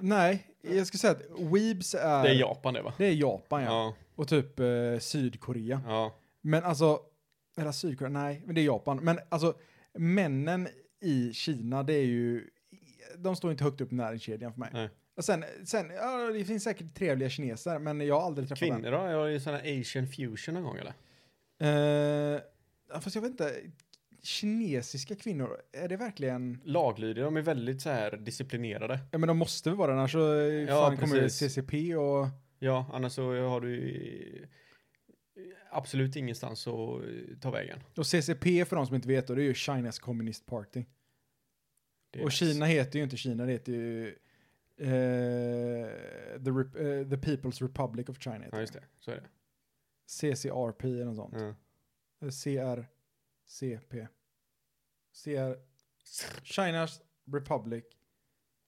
Speaker 1: nej. Jag skulle säga att Weebs är...
Speaker 3: Det är Japan det va?
Speaker 1: Det är Japan, ja.
Speaker 3: Ja.
Speaker 1: Och typ eh, Sydkorea.
Speaker 3: Ja.
Speaker 1: Men alltså, eller Sydkorea, nej, men det är Japan. Men alltså, männen i Kina, det är ju, de står inte högt upp i näringskedjan för mig.
Speaker 3: Nej.
Speaker 1: Och sen, sen, ja, det finns säkert trevliga kineser, men jag har aldrig träffat en.
Speaker 3: Kvinnor då? Jag har ju sån här asian fusion någon gång eller?
Speaker 1: Eh, ja, fast jag vet inte, kinesiska kvinnor, är det verkligen,
Speaker 3: Laglydiga, de är väldigt så här disciplinerade.
Speaker 1: ja men de måste väl vara det, annars så eh,
Speaker 3: Ja,
Speaker 1: fan kommer
Speaker 3: precis.
Speaker 1: CCP och,
Speaker 3: Ja, annars så har du ju absolut ingenstans att eh, ta vägen.
Speaker 1: och CCP för de som inte vet då, det är ju Chinas Communist Party.
Speaker 3: Det är
Speaker 1: Och
Speaker 3: nice.
Speaker 1: Kina heter ju inte Kina, det heter ju eh, the, Rep- eh, the People's Republic of China. Heter
Speaker 3: Ja, just det. Så är det.
Speaker 1: CCRP eller något sånt.
Speaker 3: Ja. Mm.
Speaker 1: Eller CRCP. CR... China's Republic.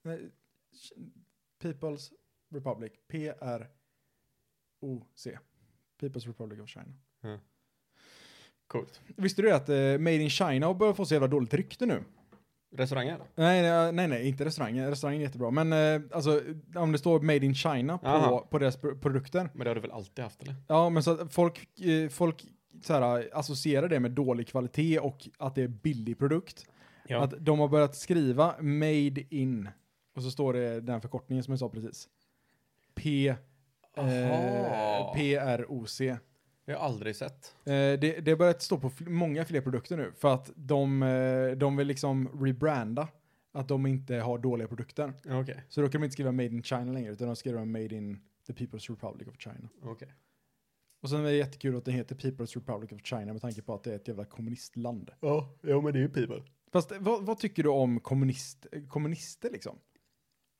Speaker 1: Nej, Ch- People's Republic. PROC. People's Republic of China.
Speaker 3: Coolt.
Speaker 1: Visste du att eh, Made in China börjar få så jävla dåligt rykte nu?
Speaker 3: Restauranger?
Speaker 1: Nej, nej, nej, nej, inte restaurangen. Restaurangen är jättebra. Men eh, alltså, om det står Made in China
Speaker 3: Aha.
Speaker 1: på, på deras pro- produkter.
Speaker 3: Men det har du väl alltid haft eller?
Speaker 1: Ja, men så att folk, eh, folk så här, associerar det med dålig kvalitet och att det är billig produkt.
Speaker 3: Ja.
Speaker 1: Att de har börjat skriva Made in. Och så står det den här förkortningen som jag sa precis. P... Eh,
Speaker 3: Aha.
Speaker 1: PROC. Eh,
Speaker 3: Det har jag aldrig sett.
Speaker 1: det, det har börjat stå på fl- många fler produkter nu för att de, eh, de vill liksom rebranda att de inte har dåliga produkter.
Speaker 3: Ja, Okej,
Speaker 1: Så då kan de inte skriva Made in China längre, utan de skriver Made in the People's Republic of China.
Speaker 3: okej.
Speaker 1: Och sen är det jättekul att den heter People's Republic of China med tanke på att det är ett jävla kommunistland.
Speaker 3: Ja, jo men det är ju people.
Speaker 1: Fast eh, vad, vad tycker du om kommunist, eh, kommunister liksom?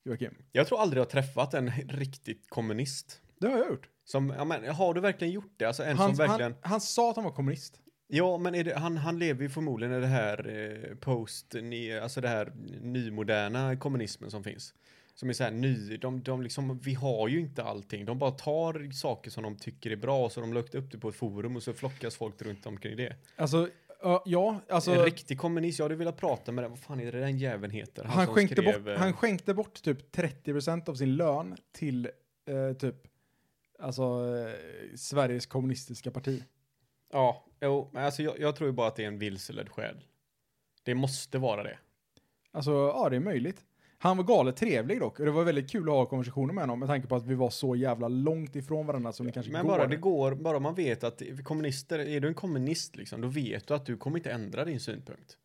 Speaker 1: Joakim?
Speaker 3: Jag tror aldrig jag har träffat en riktigt kommunist.
Speaker 1: Det har jag gjort.
Speaker 3: Som, ja men har du verkligen gjort det? Alltså en
Speaker 1: Han,
Speaker 3: som verkligen...
Speaker 1: han, han sa att han var kommunist.
Speaker 3: Ja, men är det, han, han lever ju förmodligen i det här eh, post, ni, alltså det här nymoderna kommunismen som finns. Som är så här ny, de, de liksom, vi har ju inte allting. De bara tar saker som de tycker är bra och så de lagt upp det på ett forum och så flockas folk runt omkring det.
Speaker 1: Alltså, ö, ja,
Speaker 3: en
Speaker 1: alltså.
Speaker 3: riktig kommunist, jag hade velat prata med den, vad fan är det den jäveln heter?
Speaker 1: Han
Speaker 3: som
Speaker 1: skänkte,
Speaker 3: skrev,
Speaker 1: bort,
Speaker 3: eh,
Speaker 1: han skänkte bort typ 30% av sin lön till eh, typ alltså eh, Sveriges kommunistiska parti.
Speaker 3: Ja, jo, men alltså jag, jag tror ju bara att det är en vilseledd själ. Det måste vara det.
Speaker 1: Alltså, ja det är möjligt. Han var galet trevlig dock och det var väldigt kul att ha konversationer med honom med tanke på att vi var så jävla långt ifrån varandra som det kanske
Speaker 3: Men
Speaker 1: går.
Speaker 3: bara det går, bara man vet att kommunister, är du en kommunist liksom, då vet du att du kommer inte ändra din synpunkt.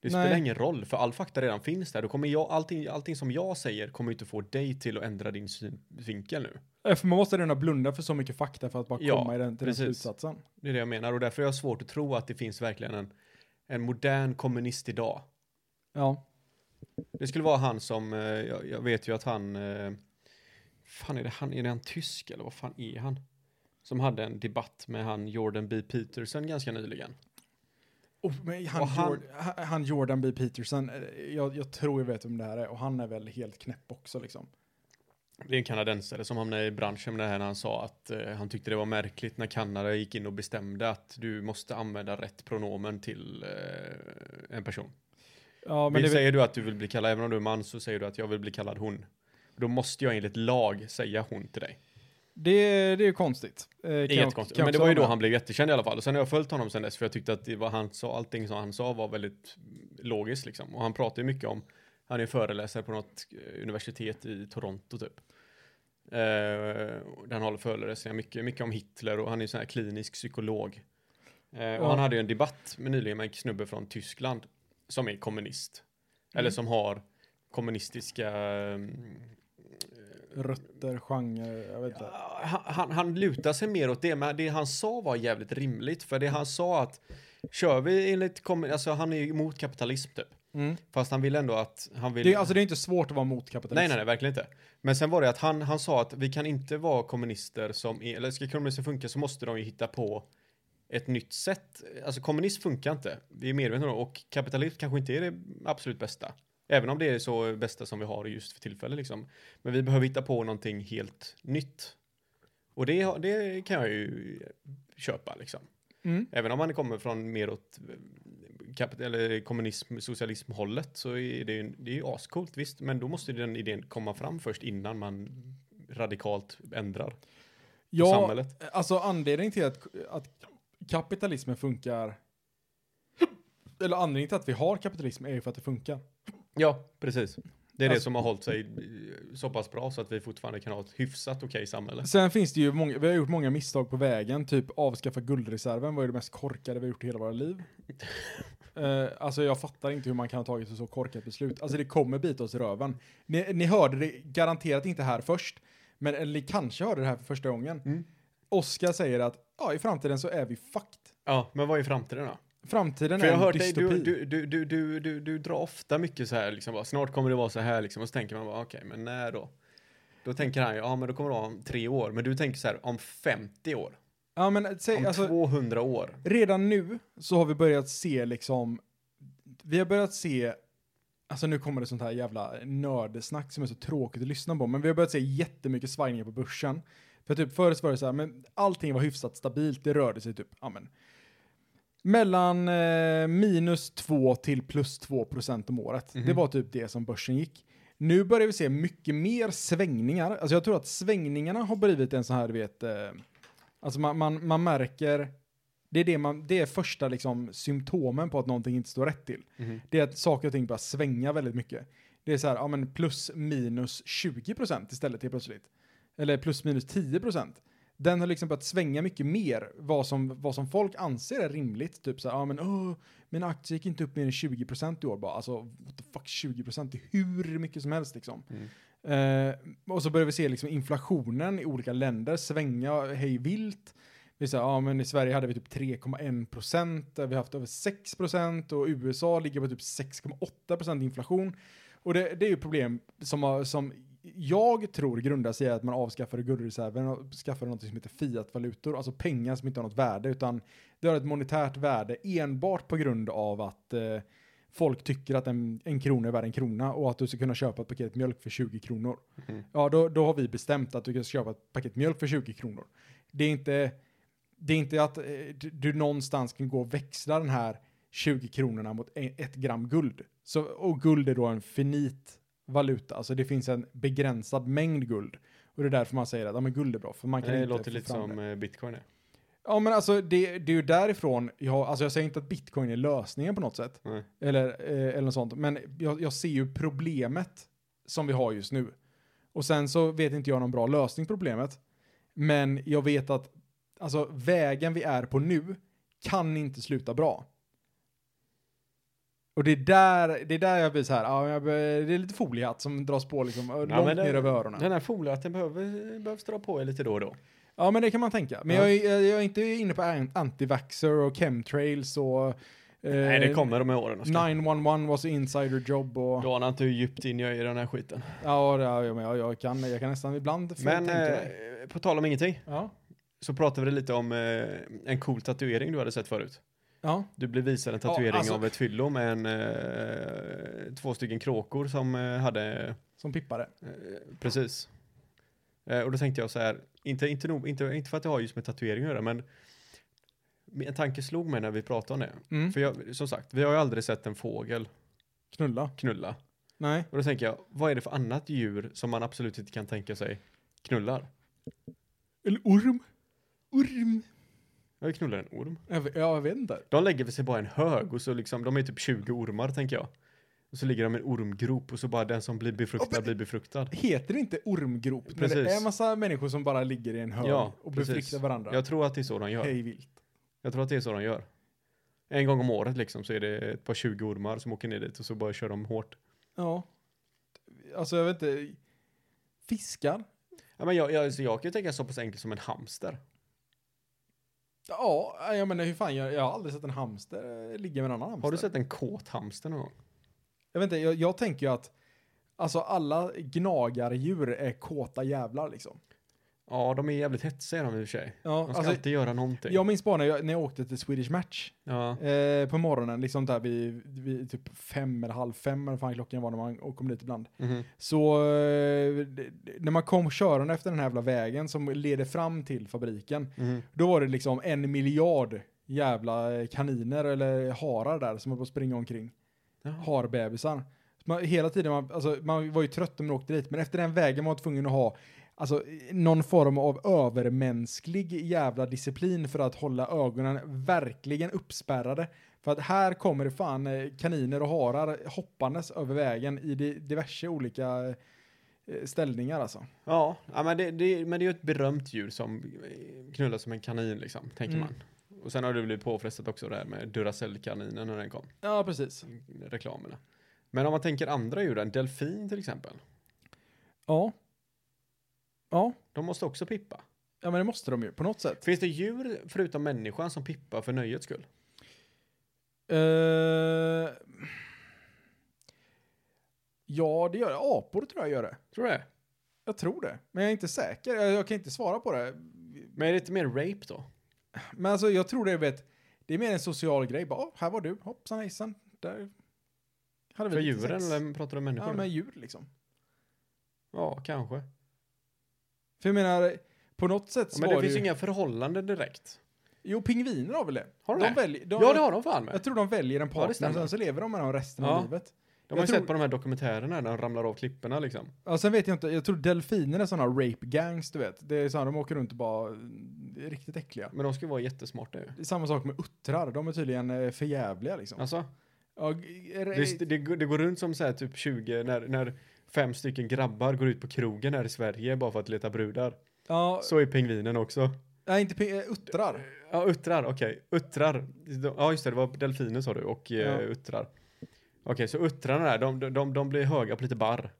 Speaker 3: Det
Speaker 1: Nej.
Speaker 3: spelar ingen roll, för all fakta redan finns där. Då kommer jag, allting, allting som jag säger kommer ju inte få dig till att ändra din synvinkel nu.
Speaker 1: Eh, För man måste redan blunda för så mycket fakta för att bara
Speaker 3: Ja,
Speaker 1: komma i den, till den
Speaker 3: precis.
Speaker 1: slutsatsen.
Speaker 3: Det är det jag menar och därför är jag svårt att tro att det finns verkligen en, en modern kommunist idag.
Speaker 1: Ja.
Speaker 3: Det skulle vara han som, eh, jag, jag vet ju att han, eh, fan är det han, är det han tysk eller vad fan är han? Som hade en debatt med han Jordan B. Peterson ganska nyligen.
Speaker 1: Oh, men han,
Speaker 3: Och han-
Speaker 1: Jord, han, han Jordan B. Peterson, eh, jag, jag tror jag vet vem det här är och han är väl helt knäpp också liksom.
Speaker 3: Det är en kanadensare som hamnade i branschen med det här när han sa att eh, han tyckte det var märkligt när Kanada gick in och bestämde att du måste använda rätt pronomen till eh, en person.
Speaker 1: Ja, men
Speaker 3: Vill,
Speaker 1: det, är väl-
Speaker 3: säger du att du vill bli kallad, även om du är man så säger du att jag vill bli kallad hon. Då måste jag enligt lag säga hon till dig.
Speaker 1: det, det är ju konstigt. Eh, kan
Speaker 3: Det är
Speaker 1: jag-
Speaker 3: jättekonstigt.
Speaker 1: kan jag
Speaker 3: Men det
Speaker 1: också
Speaker 3: var ju då
Speaker 1: hålla
Speaker 3: han blev jättekänd i alla fall. Och sen har jag följt honom sen dess för jag tyckte att det var han sa, allting som han sa var väldigt logiskt liksom. Och han pratar ju mycket om, han är föreläsare på något eh, universitet i Toronto typ. Eh, och där han håller föreläsningar mycket, mycket om Hitler och han är ju sån här klinisk psykolog. Eh, och
Speaker 1: Ja.
Speaker 3: han hade ju en debatt med nyligen med en snubbe från Tyskland som är kommunist. Eller som har kommunistiska mm,
Speaker 1: med. Rötter, genre, jag vet inte.
Speaker 3: han, han, han lutar sig mer åt det, men det han sa var jävligt rimligt. För det han sa att kör vi enligt, kommun- alltså han är ju emot kapitalism typ.
Speaker 1: Mm.
Speaker 3: Fast han vill ändå att, han vill...
Speaker 1: Det, är- alltså det är inte svårt att vara mot kapitalism.
Speaker 3: nej, nej, nej, verkligen inte. Men sen var det att han, han sa att vi kan inte vara kommunister som är, eller ska kommunismen funka så måste de ju hitta på ett nytt sätt. Alltså kommunism funkar inte, vi är medvetna om det. Och kapitalism kanske inte är det absolut bästa. Även om det är så bästa som vi har just för tillfället liksom. Men vi behöver hitta på någonting helt nytt. Och det, har- det kan jag ju köpa liksom.
Speaker 1: Mm.
Speaker 3: Även om man kommer från mer åt eh, kapit- eller kommunism, socialism hållet så är det ju, det är ju ascoolt visst. Men då måste ju den idén komma fram först innan man radikalt ändrar
Speaker 1: Ja,
Speaker 3: samhället.
Speaker 1: alltså anledningen till att, att kapitalismen funkar, eller anledningen till att vi har kapitalism är ju för att det funkar.
Speaker 3: Ja, precis. Det är det
Speaker 1: Alltså-
Speaker 3: som har hållit sig eh, så pass bra så att vi fortfarande kan ha ett hyfsat okej samhälle.
Speaker 1: Sen finns det ju många, vi har gjort många misstag på vägen, typ avskaffa guldreserven var ju det mest korkade vi har gjort i hela våra
Speaker 3: (laughs)
Speaker 1: liv. Eh, alltså jag fattar inte hur man kan ha tagit ett så korkat beslut. Alltså det kommer bita oss i röven. Ni, ni hörde det garanterat inte här först, men eller ni kanske hörde det här för första gången.
Speaker 3: Mm.
Speaker 1: Oskar säger att ja, i framtiden så är vi fucked.
Speaker 3: Ja, men vad är framtiden då?
Speaker 1: Framtiden
Speaker 3: För
Speaker 1: är
Speaker 3: jag
Speaker 1: en
Speaker 3: har hört dig,
Speaker 1: dystopi.
Speaker 3: du, du, du, du, du, du, du drar ofta mycket så här liksom, bara, snart kommer det vara så här liksom, och så tänker man bara, okej, men när då? Då tänker han, ja men då kommer det vara om tre år, men du tänker så här, om 50 år,
Speaker 1: Ja, men säg,
Speaker 3: om
Speaker 1: alltså,
Speaker 3: 200 år.
Speaker 1: redan nu så har vi börjat se liksom, vi har börjat se, alltså nu kommer det sånt här jävla nördesnack som är så tråkigt att lyssna på, men vi har börjat se jättemycket svajningar på börsen. För typ förut var det så här, men allting var hyfsat stabilt, det rörde sig typ, ja men, mellan eh, minus 2 till plus 2 procent om året.
Speaker 3: Mhm.
Speaker 1: Det var typ det som börsen gick. Nu börjar vi se mycket mer svängningar. Alltså jag tror att svängningarna har blivit en sån här, du vet, eh, alltså man, man, man märker, det är, det, man, det är första liksom symptomen på att någonting inte står rätt till. Det är att saker och ting börjar svänga väldigt mycket. Det är så här, ja men plus minus 20 procent istället helt plötsligt. Eller plus minus 10 procent. Den har liksom börjat svänga mycket mer vad som, vad som folk anser är rimligt. Typ så här, ja men åh, mina aktier gick inte upp mer än 20 procent i år bara. Alltså, what the fuck 20 procent? Det är hur mycket som helst liksom.
Speaker 3: Mm.
Speaker 1: Eh, och så börjar vi se liksom inflationen i olika länder svänga hej vilt. Vi säger, ja men i Sverige hade vi typ 3,1 procent, vi har haft över 6 procent och USA ligger på typ 6,8 procent inflation. Och det, det är ju problem som, har, som jag tror grundar sig i att man avskaffade guldreserven och skaffade något som heter fiatvalutor, alltså pengar som inte har något värde, utan det har ett monetärt värde enbart på grund av att eh, folk tycker att en, en krona är värd en krona och att du ska kunna köpa ett paket mjölk för 20 kronor.
Speaker 3: Mhm.
Speaker 1: Ja, då, då har vi bestämt att du ska köpa ett paket mjölk för 20 kronor. Det är inte, det är inte att eh, du, du någonstans kan gå och växla den här 20 kronorna mot e- ett gram guld. Så, och guld är då en finit valuta, alltså det finns en begränsad mängd guld. Och det är därför man säger att ja, men guld är bra, för man kan
Speaker 3: Det
Speaker 1: inte
Speaker 3: låter
Speaker 1: få
Speaker 3: lite
Speaker 1: fram det.
Speaker 3: som eh, bitcoin är.
Speaker 1: Ja men alltså det, det är ju därifrån, jag, alltså jag säger inte att bitcoin är lösningen på något sätt.
Speaker 3: Nej.
Speaker 1: Eller, eh, eller något sånt. Men jag, jag ser ju problemet som vi har just nu. Och sen så vet inte jag någon bra lösning på problemet. Men jag vet att alltså, vägen vi är på nu kan inte sluta bra. Och det är där, det är där jag blir så här, ja, jag, bör- det är lite foliehatt som dras på liksom, eh, långt
Speaker 3: men det-
Speaker 1: ner över öronen.
Speaker 3: Den här foliehatten behöver, behövs dra på er lite då och då.
Speaker 1: Ja, men det kan man tänka. Men
Speaker 3: Ja.
Speaker 1: jag, är, jag är inte inne på an- antivaxxer och chemtrails och... Eh,
Speaker 3: Nej, det kommer med åren. Oskar.
Speaker 1: 911 was an insider job och...
Speaker 3: Du anar inte hur djupt in jag är i den här skiten.
Speaker 1: Ja, det, ja men jag, jag, kan, jag kan nästan ibland få
Speaker 3: Men
Speaker 1: tänka mig.
Speaker 3: eh, på tal om ingenting
Speaker 1: Ja.
Speaker 3: så pratade vi lite om eh, en cool tatuering du hade sett förut.
Speaker 1: Ja.
Speaker 3: Du blev visad en
Speaker 1: Ja,
Speaker 3: tatuering
Speaker 1: alltså-
Speaker 3: av ett fyllo med en, eh, två stycken kråkor som eh, hade,
Speaker 1: Som pippare.
Speaker 3: eh, precis. Eh, och då tänkte jag så här, inte, inte, nog, inte, inte för att det har just med tatuering att göra, men en tanke slog mig när vi pratade om det.
Speaker 1: Mm.
Speaker 3: För jag, som sagt, vi har ju aldrig sett en fågel
Speaker 1: Knulla.
Speaker 3: knulla.
Speaker 1: Nej.
Speaker 3: Och då tänker jag, vad är det för annat djur som man absolut inte kan tänka sig knullar?
Speaker 1: Eller orm. Orm.
Speaker 3: Jag knullar en orm.
Speaker 1: Jag, vet- jag vet inte.
Speaker 3: De lägger väl sig bara i en hög och så liksom, de är typ 20 ormar tänker jag. Och så ligger de i en ormgrop och så bara den som blir befruktad
Speaker 1: Ja, men-
Speaker 3: blir befruktad.
Speaker 1: Heter det inte ormgrop? När
Speaker 3: Precis.
Speaker 1: det är en massa människor som bara ligger i en hög
Speaker 3: Ja,
Speaker 1: och
Speaker 3: precis.
Speaker 1: befruktar varandra.
Speaker 3: Jag tror att det är så de gör.
Speaker 1: Hej vilt.
Speaker 3: Jag tror att det är så de gör. En gång om året liksom så är det ett par 20 ormar som åker ner dit och så bara kör de hårt.
Speaker 1: Ja. Alltså jag vet inte. Fiskar?
Speaker 3: Ja, men jag, jag, så jag kan ju tänka så pass enkelt som en hamster.
Speaker 1: Ja, jag menar hur fan, jag, jag har aldrig sett en hamster eh, ligga med en annan hamster.
Speaker 3: Har du sett en kåt hamster någon gång?
Speaker 1: Jag vet inte, jag, jag tänker ju att alltså alla gnagardjur är kåta jävlar liksom.
Speaker 3: Ja, de är jävligt hetsiga de i och för sig.
Speaker 1: Ja,
Speaker 3: De ska
Speaker 1: alltså,
Speaker 3: alltid göra någonting.
Speaker 1: jag minns bara när jag, när jag åkte till Swedish Match
Speaker 3: Ja.
Speaker 1: eh, på morgonen, liksom där vid, vid typ fem eller halv fem eller vad fan klockan var när man kom dit ibland.
Speaker 3: Mhm.
Speaker 1: Så eh, d- d- när man kom körande efter den här jävla vägen som leder fram till fabriken,
Speaker 3: Mhm.
Speaker 1: då var det liksom en miljard jävla eh, kaniner eller harar där som höll på att springa omkring.
Speaker 3: Jaha.
Speaker 1: harbebisar. Så Man, hela tiden, man, alltså, man var ju trött när man åkte dit, men efter den vägen var man tvungen att ha alltså, någon form av övermänsklig jävla disciplin för att hålla ögonen verkligen uppspärrade. För att här kommer det fan eh, kaniner och harar hoppandes över vägen i di- diverse olika eh, ställningar alltså.
Speaker 3: Ja, ja men, det, det, men det är ju ett berömt djur som eh, knullar som en kanin liksom, tänker
Speaker 1: Mm.
Speaker 3: man. Och sen har du blivit påfrestat också det här med Duracell-kaninen när den kom,
Speaker 1: Ja, precis.
Speaker 3: reklamerna. Men om man tänker andra djur, en delfin till exempel,
Speaker 1: Ja. Ja,
Speaker 3: de måste också pippa.
Speaker 1: ja men det måste de ju på något sätt.
Speaker 3: Finns det djur förutom människan som pippar för nöjets skull?
Speaker 1: Eh, ja, det gör det. Apor tror jag gör det.
Speaker 3: Tror du det?
Speaker 1: Jag tror det. Men jag är inte säker. Jag, jag kan inte svara på det.
Speaker 3: Men är det inte mer rape då?
Speaker 1: Men alltså, jag tror det, vet, det är mer en social grej. Bara, "Åh, här var du. Hoppsan hejsan. Där. Hade
Speaker 3: För
Speaker 1: vi lite
Speaker 3: djuren
Speaker 1: sex."
Speaker 3: eller pratar du om människor?
Speaker 1: Ja,
Speaker 3: då?
Speaker 1: men djur liksom.
Speaker 3: ja kanske.
Speaker 1: För jag menar, på något sätt
Speaker 3: Ja,
Speaker 1: så
Speaker 3: men det
Speaker 1: var
Speaker 3: finns
Speaker 1: ju...
Speaker 3: ju inga förhållanden direkt.
Speaker 1: Jo, pingviner har väl det?
Speaker 3: Har de
Speaker 1: de
Speaker 3: det?
Speaker 1: väljer, de,
Speaker 3: ja, det har de fan med.
Speaker 1: Jag tror de väljer en partner,
Speaker 3: stämmer.
Speaker 1: sen så lever de med dem resten
Speaker 3: Ja.
Speaker 1: av livet.
Speaker 3: De har ju
Speaker 1: jag tror-
Speaker 3: sett på de här dokumentärerna när de ramlar av klipporna liksom.
Speaker 1: Ja, sen vet jag inte. Jag tror delfiner är sådana rape gangs, du vet. Det är sådana, de åker runt och bara mm, är riktigt äckliga.
Speaker 3: Men de ska ju vara jättesmarta ju.
Speaker 1: Det är samma sak med uttrar. De är tydligen eh, förjävliga liksom.
Speaker 3: Alltså,
Speaker 1: Ja, g- är det-
Speaker 3: det, det, det går runt som så här typ 20, när, när fem stycken grabbar går ut på krogen här i Sverige bara för att leta brudar.
Speaker 1: ja,
Speaker 3: Så är pingvinen också.
Speaker 1: nej, inte pe- eh, uttrar.
Speaker 3: Ja, uttrar, okej. Uttrar. De- Ja, just det, det var delfiner sa du och eh,
Speaker 1: Ja.
Speaker 3: uttrar. Okej, så uttrarna där, de, de, de blir höga på lite barr.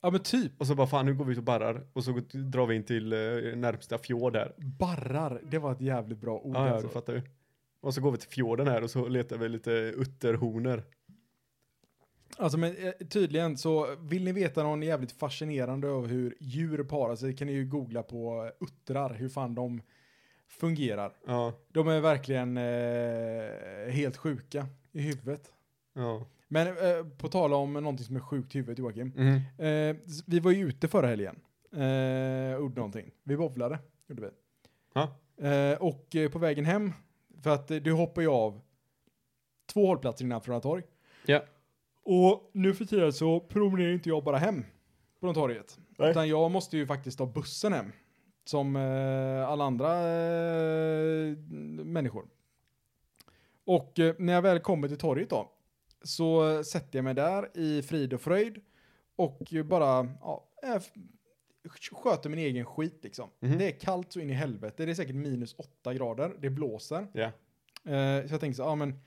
Speaker 1: Ja, men typ
Speaker 3: Och så bara fan, nu går vi ut och barrar. Och så går- drar vi in till eh, närmsta fjord där.
Speaker 1: Oh, barrar. Det var ett jävligt bra ord
Speaker 3: Ja, ja, du
Speaker 1: alltså.
Speaker 3: fattar ju. Och så går vi till fjorden här och så letar vi lite utterhorner.
Speaker 1: Alltså men eh, tydligen så vill ni veta någon jävligt fascinerande över hur djur parar sig kan ni ju googla på eh, uttrar, hur fan de fungerar.
Speaker 3: Ja,
Speaker 1: De är verkligen eh, helt sjuka i huvudet.
Speaker 3: ja.
Speaker 1: Men eh, på tala om någonting som är sjukt i huvudet Joakim.
Speaker 3: Mm.
Speaker 1: Eh, s- vi var ju ute förra helgen. Eh, och gjorde någonting. Vi bowlade, gjorde vi.
Speaker 3: Ja.
Speaker 1: Eh, och eh, på vägen hem, för att eh, du hoppar ju av två hållplatser innan Frölunda torg.
Speaker 3: Ja.
Speaker 1: Och nu för tiden så promenerar inte jag bara hem från torget.
Speaker 2: Nej.
Speaker 1: Utan jag måste ju faktiskt ta bussen hem. Som eh, alla andra eh, människor. Och eh, när jag väl kommer till torget då, så eh, sätter jag mig där i frid och fröjd och ju bara ja, eh, f- sköter min egen skit liksom.
Speaker 3: Mhm.
Speaker 1: Det är kallt så in i helvete, det är säkert minus åtta grader, det blåser.
Speaker 3: Ja.
Speaker 1: Eh, så jag tänker så, ja men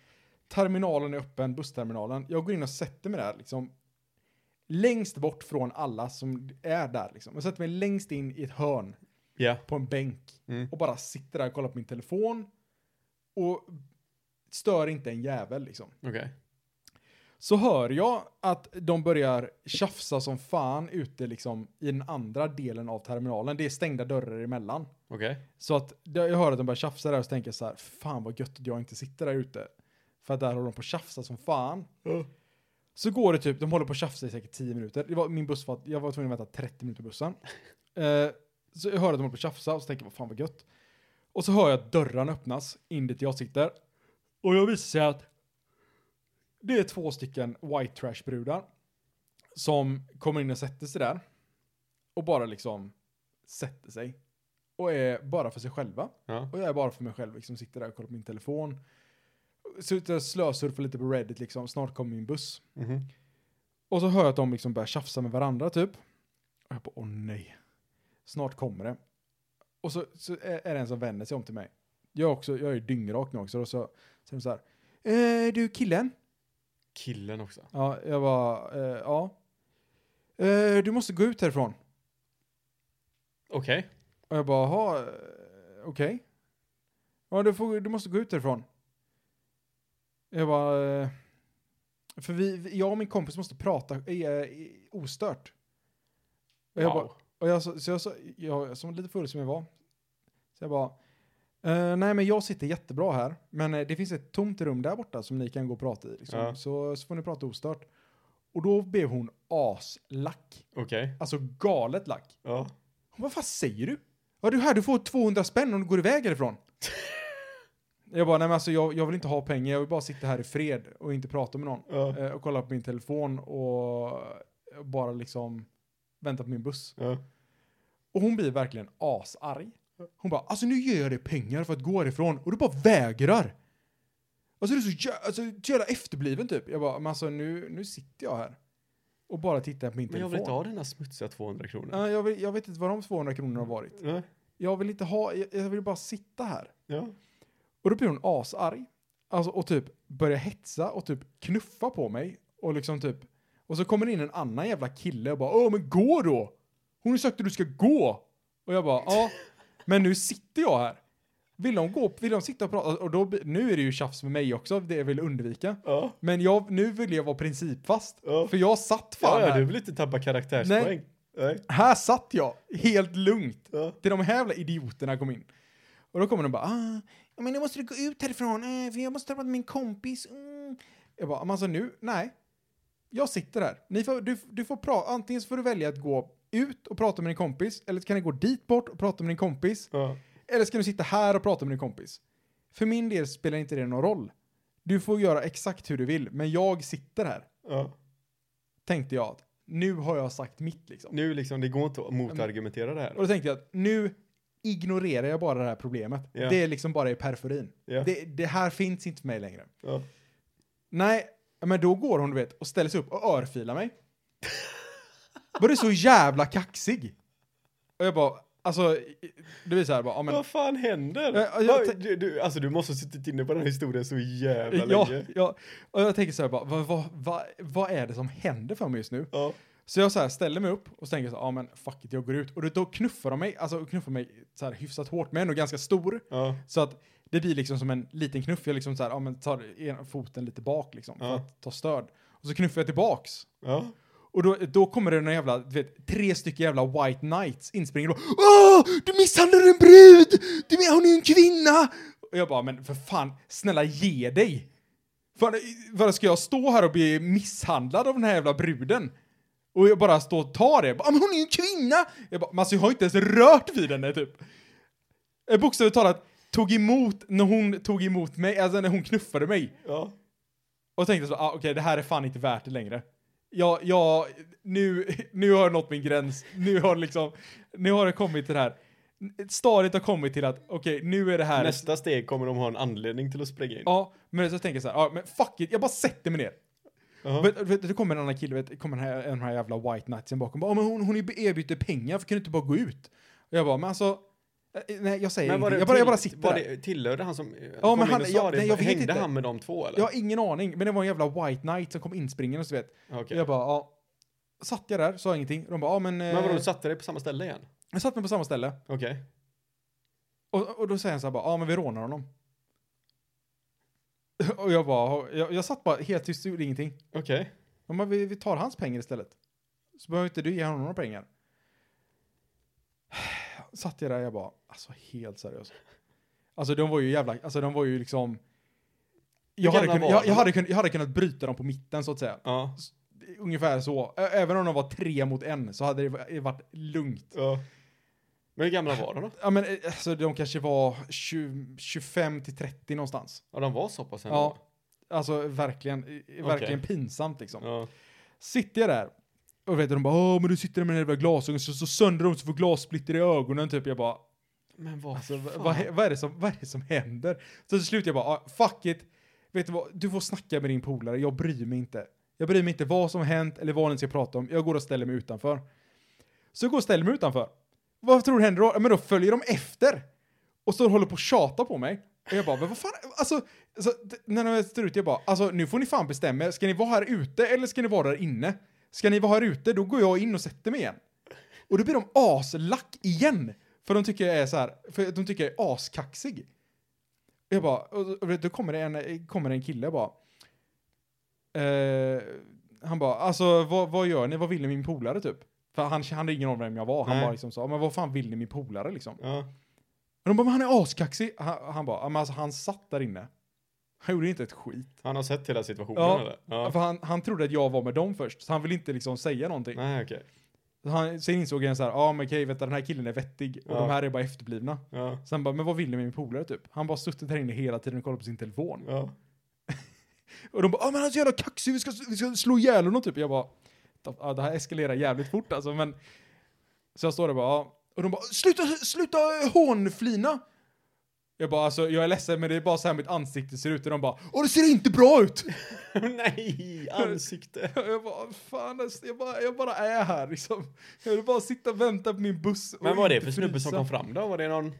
Speaker 1: terminalen är öppen, bussterminalen. Jag går in och sätter mig där liksom längst bort från alla som är där liksom. Jag sätter mig längst in i ett hörn
Speaker 3: Ja.
Speaker 1: på en bänk
Speaker 3: Mm.
Speaker 1: och bara sitter där och kollar på min telefon och stör inte en jävel liksom.
Speaker 3: Okej.
Speaker 1: Så hör jag att de börjar tjafsa som fan ute liksom i den andra delen av terminalen. Det är stängda dörrar emellan.
Speaker 3: Okej.
Speaker 1: Så att jag hör att de börjar tjafsa där och så tänker jag så här, fan vad gött att jag inte sitter där ute. För att där håller de på att tjafsa som fan. Så går det typ, de håller på att tjafsa i säkert 10 minuter. Det var, min buss var, jag var tvungen att vänta 30 minuter på bussen. Eh, så jag hör att de håller på att tjafsa och så tänker jag, fan vad gött. Och så hör jag att dörren öppnas in dit jag sitter. Och jag visar sig att det är två stycken white trash-brudar som kommer in och sätter sig där. Och bara liksom sätter sig. Och är bara för sig själva.
Speaker 3: Ja.
Speaker 1: Och jag är bara för mig själv, liksom sitter där och kollar på min telefon. Sitter och slösurfar lite på Reddit liksom, snart kommer min buss.
Speaker 3: Mhm.
Speaker 1: Och så hör jag att de liksom börjar tjafsa med varandra typ. Och jag bara, åh nej. Snart kommer det. Och så, så är är det en som vänder sig om till mig. Jag, är också, jag är dyngrak nu också. Och så säger de så här, eh, du killen?
Speaker 3: Killen också.
Speaker 1: Ja, jag bara, eh, ja. Eh, du måste gå ut härifrån.
Speaker 3: Okej.
Speaker 1: Och jag bara, jaha, eh, okej. Ja, du, får, du måste gå ut därifrån. Jag bara, eh, för vi, vi- jag och min kompis måste prata eh, eh, ostört. Och jag bara,
Speaker 3: Wow.
Speaker 1: och jag, så, så jag, så, jag som lite full som jag var, så jag bara, eh, nej men jag sitter jättebra här, men eh, det finns ett tomt rum där borta som ni kan gå och prata i, liksom.
Speaker 3: Ja.
Speaker 1: så, så får ni prata ostört. Och då blev hon aslack,
Speaker 3: Okej.
Speaker 1: alltså galet lack.
Speaker 3: Ja.
Speaker 1: Hon bara, vad fan säger du? Ja du här, du får 200 spänn om du går iväg
Speaker 3: (laughs)
Speaker 1: härifrån. jag bara, nej men alltså jag, jag vill inte ha pengar, jag vill bara sitta här i fred och inte prata med någon.
Speaker 3: Ja.
Speaker 1: Eh, och kolla på min telefon och bara liksom vänta på min buss.
Speaker 3: Ja.
Speaker 1: Och hon blir verkligen asarg. Hon bara, alltså nu ger jag dig pengar för att gå härifrån och du bara vägrar. Alltså du är så jä- alltså, så jävla efterbliven typ. Jag bara, men alltså nu, nu sitter jag här. Och bara tittar på min
Speaker 3: Men jag
Speaker 1: telefon.
Speaker 3: vill inte ha dina smutsiga 200 kronor.
Speaker 1: Nej, jag, vill, jag vet inte vad de 200 kronorna har varit.
Speaker 3: Nej.
Speaker 1: Jag vill inte ha, jag, jag vill bara sitta här.
Speaker 3: Ja.
Speaker 1: Och då blir hon asarg. Alltså och typ börjar hetsa och typ knuffa på mig. Och liksom typ, och så kommer det in en annan jävla kille och bara åh men gå då! Hon har sagt att du ska gå! Och jag bara ja, men nu sitter jag här. Vill de gå, vill de sitta och prata? Och då, blir- nu är det ju tjafs med mig också, det jag vill undvika.
Speaker 3: Ja.
Speaker 1: Men jag, nu vill jag vara principfast.
Speaker 3: Ja.
Speaker 1: För jag satt fan
Speaker 3: Ja, ja,
Speaker 1: här.
Speaker 3: du vill inte tappa karaktärspoäng. Nej.
Speaker 1: Här satt jag, helt lugnt.
Speaker 3: Ja.
Speaker 1: Till de här jävla idioterna kom in. Och då kommer de bara, ah, ja, men nu måste du gå ut härifrån, eh, för jag måste träffa min kompis. Mm. Jag bara, men alltså nu, nej. Jag sitter här. Ni får, du, du får pra- antingen så får du välja att gå ut och prata med din kompis, eller så kan ni gå dit bort och prata med din kompis,
Speaker 3: Ja.
Speaker 1: eller så kan du sitta här och prata med din kompis. För min del spelar inte det någon roll. Du får göra exakt hur du vill, men jag sitter här.
Speaker 3: Ja.
Speaker 1: Tänkte jag att nu har jag sagt mitt liksom.
Speaker 3: Nu liksom, det går inte att motargumentera det
Speaker 1: Och
Speaker 3: här.
Speaker 1: då tänkte jag att nu ignorerar jag bara det här problemet.
Speaker 3: Ja.
Speaker 1: Det är liksom bara i perforin.
Speaker 3: Ja.
Speaker 1: Det, det här finns inte för mig längre.
Speaker 3: Ja.
Speaker 1: Nej, men då går hon du vet och ställer sig upp och örfilar
Speaker 3: (laughs)
Speaker 1: mig. Var du så jävla kaxig? Och jag bara, alltså, det blir så här bara, ja men.
Speaker 3: Vad fan händer?
Speaker 1: Ja, ja, jag
Speaker 3: Vad-
Speaker 1: tän-
Speaker 3: du, du, alltså du måste ha suttit inne på den här historien så jävla
Speaker 1: Ja,
Speaker 3: länge.
Speaker 1: ja, och jag tänker så här bara, vad, vad, vad, vad är det som händer för mig just nu?
Speaker 3: Ja.
Speaker 1: Så jag så här ställer mig upp och så tänker jag så här, ja men fuck it, jag går ut. Och då- då knuffar de mig, alltså knuffar mig så här hyfsat hårt, men ändå ganska stor.
Speaker 3: Ja.
Speaker 1: Så att det blir liksom som en liten knuff. Jag liksom så här, ja, men tar en, foten lite bak liksom för
Speaker 3: Ja.
Speaker 1: att ta stöd. Och Och så knuffar jag tillbaks.
Speaker 3: Ja.
Speaker 1: Och då, då kommer det några jävla, du vet, tre stycken jävla white knights inspringande och bara, Åh! Du misshandlar en brud! Du, men- hon är ju en kvinna! Och jag bara, men för fan, snälla ge dig! Fan, vad ska jag stå här och bli misshandlad av den här jävla bruden? Och jag bara står och tar det. Jag Bara, "Ah, men hon är ju en kvinna! Jag bara, men alltså jag har inte ens rört vid henne typ. Jag Bokstavligt talat tog emot när hon tog emot mig, alltså när hon knuffade mig.
Speaker 3: ja.
Speaker 1: Och tänkte så, ah, okej det här är fan inte värt det längre. Jag, jag, nu, nu har jag nått min gräns. Nu har liksom, nu har det kommit till det här. Stadiet har kommit till att, okej nu är det här.
Speaker 3: Nästa steg kommer de ha en anledning till att springa in.
Speaker 1: Ja, men så tänker jag så här, ja men fuck it, jag bara sätter mig ner.
Speaker 3: Ja.
Speaker 1: Vet, vet, det kommer en annan kille, vet, det kommer den här, en av de här jävla white knightsen bakom. Bara, "Ja, men hon, hon erbjuder pengar, för kan du inte bara gå ut? Och jag bara, men alltså, eh, nej jag säger
Speaker 3: var
Speaker 1: ingenting.
Speaker 3: det
Speaker 1: Jag bara, jag
Speaker 3: till-
Speaker 1: bara sitter
Speaker 3: var
Speaker 1: där.
Speaker 3: Det, tillhörde han som ja,
Speaker 1: men
Speaker 3: kom men in
Speaker 1: han-
Speaker 3: och sa
Speaker 1: jag-
Speaker 3: det?
Speaker 1: nej, jag vet
Speaker 3: Hängde
Speaker 1: inte.
Speaker 3: han med de två eller?
Speaker 1: Jag har ingen aning, men det var en jävla white knight som kom inspringande och så vet.
Speaker 3: Ja, okej.
Speaker 1: Jag bara, ja. Satt jag där, sa ingenting. De bara, ja men... eh,
Speaker 3: Men vadå, du satte dig på samma ställe igen?
Speaker 1: Jag satt mig på samma ställe.
Speaker 3: Okej.
Speaker 1: Och, och då säger han så här bara, ja men vi rånar honom. (laughs) Och jag bara, jag, jag satt bara helt tyst och gjorde ingenting.
Speaker 3: Okej.
Speaker 1: De bara, vi, vi tar hans pengar istället. Så behöver inte du ge honom några pengar. (sighs) Satt jag där jag bara, alltså helt seriöst. Alltså de var ju jävla, alltså de var ju liksom... Jag hade,
Speaker 3: gamla
Speaker 1: kunnat,
Speaker 3: var
Speaker 1: jag,
Speaker 3: de?
Speaker 1: jag, hade kunnat, jag hade kunnat bryta dem på mitten så att säga.
Speaker 3: Ja.
Speaker 1: Ungefär så. Ä- Även om de var tre mot en så hade det va- varit lugnt.
Speaker 3: ja. Men hur gamla var de då?
Speaker 1: Ja men eh, alltså de kanske var 20, 25 till 30 någonstans.
Speaker 3: Ja, de var så pass ändå?
Speaker 1: Ja. Alltså verkligen, eh, verkligen pinsamt liksom.
Speaker 3: Ja.
Speaker 1: Sitter jag där och vet du, de bara Åh, men du sitter där med dina jävla glasögon så, så söndrar de så får glassplitter i ögonen typ. Jag bara
Speaker 3: Men vad
Speaker 1: alltså, vad,
Speaker 3: fan?
Speaker 1: vad, hä- vad, är det som, vad är det som händer? Så till slut jag bara ah, fuck it. Vet du vad, du får snacka med din polare, jag bryr mig inte. Jag bryr mig inte vad som hänt eller vad ni ska prata om. Jag går och ställer mig utanför. Så jag går och ställer mig utanför. Vad tror du händer då? Ja, Men då följer de efter. Och så håller på och tjatar på mig. Och jag bara, men vad fan, alltså, alltså d- när de står ute, jag bara, alltså nu får ni fan bestämma er. Ska ni vara här ute eller ska ni vara där inne? Ska ni vara här ute, då går jag in och sätter mig igen. Och då blir de aslack igen. För de tycker jag är så här, för de tycker jag är askaxig. Jag bara, och och då kommer det en, kommer det en kille bara. Eh, han bara, alltså vad, vad gör ni, vad vill ni min polare typ? För han hade ingen aning om vem jag var. Han
Speaker 3: Nej.
Speaker 1: bara liksom sa, men vad fan vill ni min polare liksom?
Speaker 3: Ja.
Speaker 1: Men de bara, men han är askaxig. Han, han bara, "Ja, men alltså han satt där inne. Han gjorde inte ett skit.
Speaker 3: Han har sett hela situationen
Speaker 1: Ja.
Speaker 3: eller? Ja.
Speaker 1: För han, han trodde att jag var med dem först, så han ville inte liksom säga någonting.
Speaker 3: Nej, okej.
Speaker 1: Så han, sen insåg han så här, ja men okej, vänta den här killen är vettig och
Speaker 3: Ja.
Speaker 1: de här är bara efterblivna.
Speaker 3: Ja.
Speaker 1: Sen bara, men vad vill ni med min polare typ? Han bara suttit där inne hela tiden och kollat på sin telefon.
Speaker 3: Ja. (laughs)
Speaker 1: Och de bara, ja men han är så jävla kaxig, vi ska, vi ska slå ihjäl honom typ. Jag bara, "Ta- ja, det här eskalerar jävligt fort alltså men. Så jag står där bara, ja. Och de bara, sluta, sluta hånflina! Jag bara, alltså jag är ledsen men det är bara så här mitt ansikte ser ut. Och de bara, åh det ser inte bra ut! (laughs)
Speaker 3: Nej, ansikte.
Speaker 1: Jag bara, fan alltså, jag bara, jag bara är här liksom. Jag vill bara sitta och vänta på min buss. och
Speaker 3: Men vad var det
Speaker 1: inte
Speaker 3: för snubbe som
Speaker 1: frysa.
Speaker 3: kom fram då? Var det någon?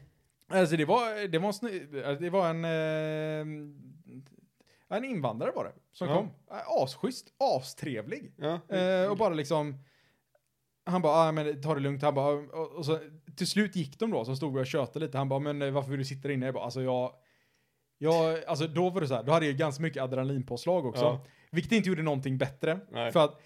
Speaker 1: Alltså det var, det var, snu, alltså, det var en, eh, en invandrare var det som
Speaker 3: Ja.
Speaker 1: kom. Eh, Asschysst, astrevlig.
Speaker 3: Ja.
Speaker 1: Eh, och bara liksom, han bara, ah, men ta det lugnt. Han bara, "Ah", och, och så, till slut gick de då, så stod vi och tjötade lite. Han bara, men eh, varför vill du sitta där inne? Jag bara, alltså jag, jag, alltså då var det så här, då hade jag ganska mycket adrenalinpåslag också.
Speaker 3: Ja.
Speaker 1: Vilket inte gjorde någonting bättre.
Speaker 3: Nej.
Speaker 1: För att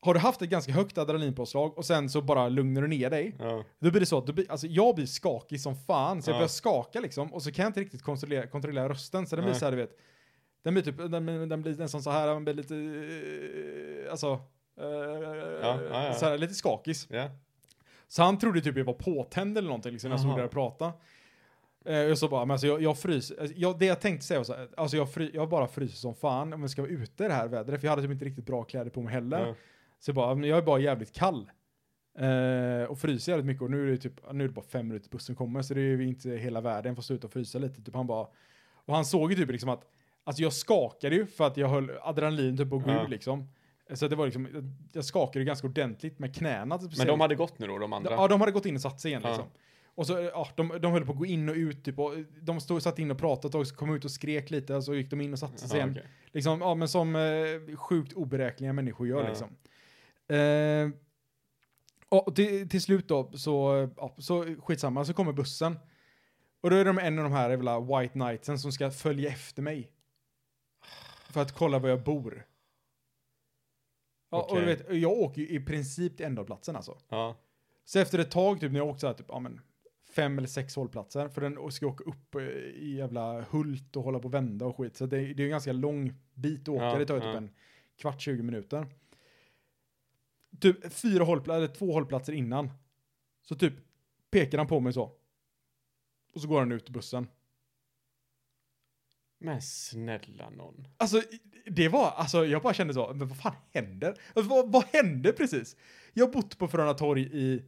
Speaker 1: har du haft ett ganska högt adrenalinpåslag och sen så bara lugnar du ner dig.
Speaker 3: Ja.
Speaker 1: Då blir det så att du blir, alltså jag blir skakig som fan, så jag
Speaker 3: Ja.
Speaker 1: börjar skaka liksom och så kan jag inte riktigt kontrollera, kontrollera rösten så den blir
Speaker 3: Nej.
Speaker 1: så här du vet. Den blir typ, den, den blir nästan så här, den blir lite, eh, alltså, eh,
Speaker 3: ja, ja.
Speaker 1: så här lite skakig.
Speaker 3: Ja.
Speaker 1: Så han trodde typ jag var påtänd eller någonting liksom när jag stod
Speaker 3: Aha.
Speaker 1: där och pratade. Eh, och så bara, men alltså jag, jag fryser, alltså, jag, det jag tänkte säga var så här, alltså jag, fry, jag bara fryser som fan om jag ska vara ute i det här vädret, för jag hade typ inte riktigt bra kläder på mig heller.
Speaker 3: Ja.
Speaker 1: Så jag bara, men jag är bara jävligt kall. Eh, och fryser jävligt mycket och nu är det typ, nu är det bara fem minuter till bussen kommer så det är ju inte hela världen, fast sluta frysa lite. Typ han bara, och han såg ju typ liksom att, alltså jag skakade ju för att jag höll adrenalin typ på att gå
Speaker 3: Ja.
Speaker 1: ur liksom. Så att det var liksom, jag- jag skakade ju ganska ordentligt med knäna. typ,
Speaker 3: Men
Speaker 1: speciellt.
Speaker 3: de hade gått nu då, de andra?
Speaker 1: Ja, de hade gått in och satt sig igen
Speaker 3: Ja.
Speaker 1: liksom. Och så, ja, de, de höll på att gå in och ut typ och de stod, satt in och pratade ett tag, så kom ut och skrek lite, så gick de in och satte sig
Speaker 3: Ja,
Speaker 1: igen.
Speaker 3: okej.
Speaker 1: Liksom, ja men som eh, sjukt oberäkneliga människor gör
Speaker 3: Ja.
Speaker 1: liksom. Eh, och till, till slut då, så, ja, så skitsamma, så kommer bussen. Och då är de en av de här jävla white knightsen som ska följa efter mig. För att kolla var jag bor. Ja, och du
Speaker 3: Okej.
Speaker 1: vet, jag åker ju i princip till ändhållplatsen alltså.
Speaker 3: Ja.
Speaker 1: Så efter ett tag, typ när jag åkt så här, typ, ja, men, fem eller sex hållplatser, för den ska åka upp eh, i jävla Hult och hålla på och vända och skit. Så det, det är en ganska lång bit att åka,
Speaker 3: Ja,
Speaker 1: det tar ju
Speaker 3: ja.
Speaker 1: typ en kvart, 20 minuter. Typ fyra hållplatser, eller två hållplatser innan. Så typ pekar han på mig så. Och så går han ut i bussen.
Speaker 3: Men snälla någon.
Speaker 1: Alltså, det var, alltså jag bara kände så, men vad fan händer? Alltså, vad, vad hände precis? Jag har bott på Fröna Torg i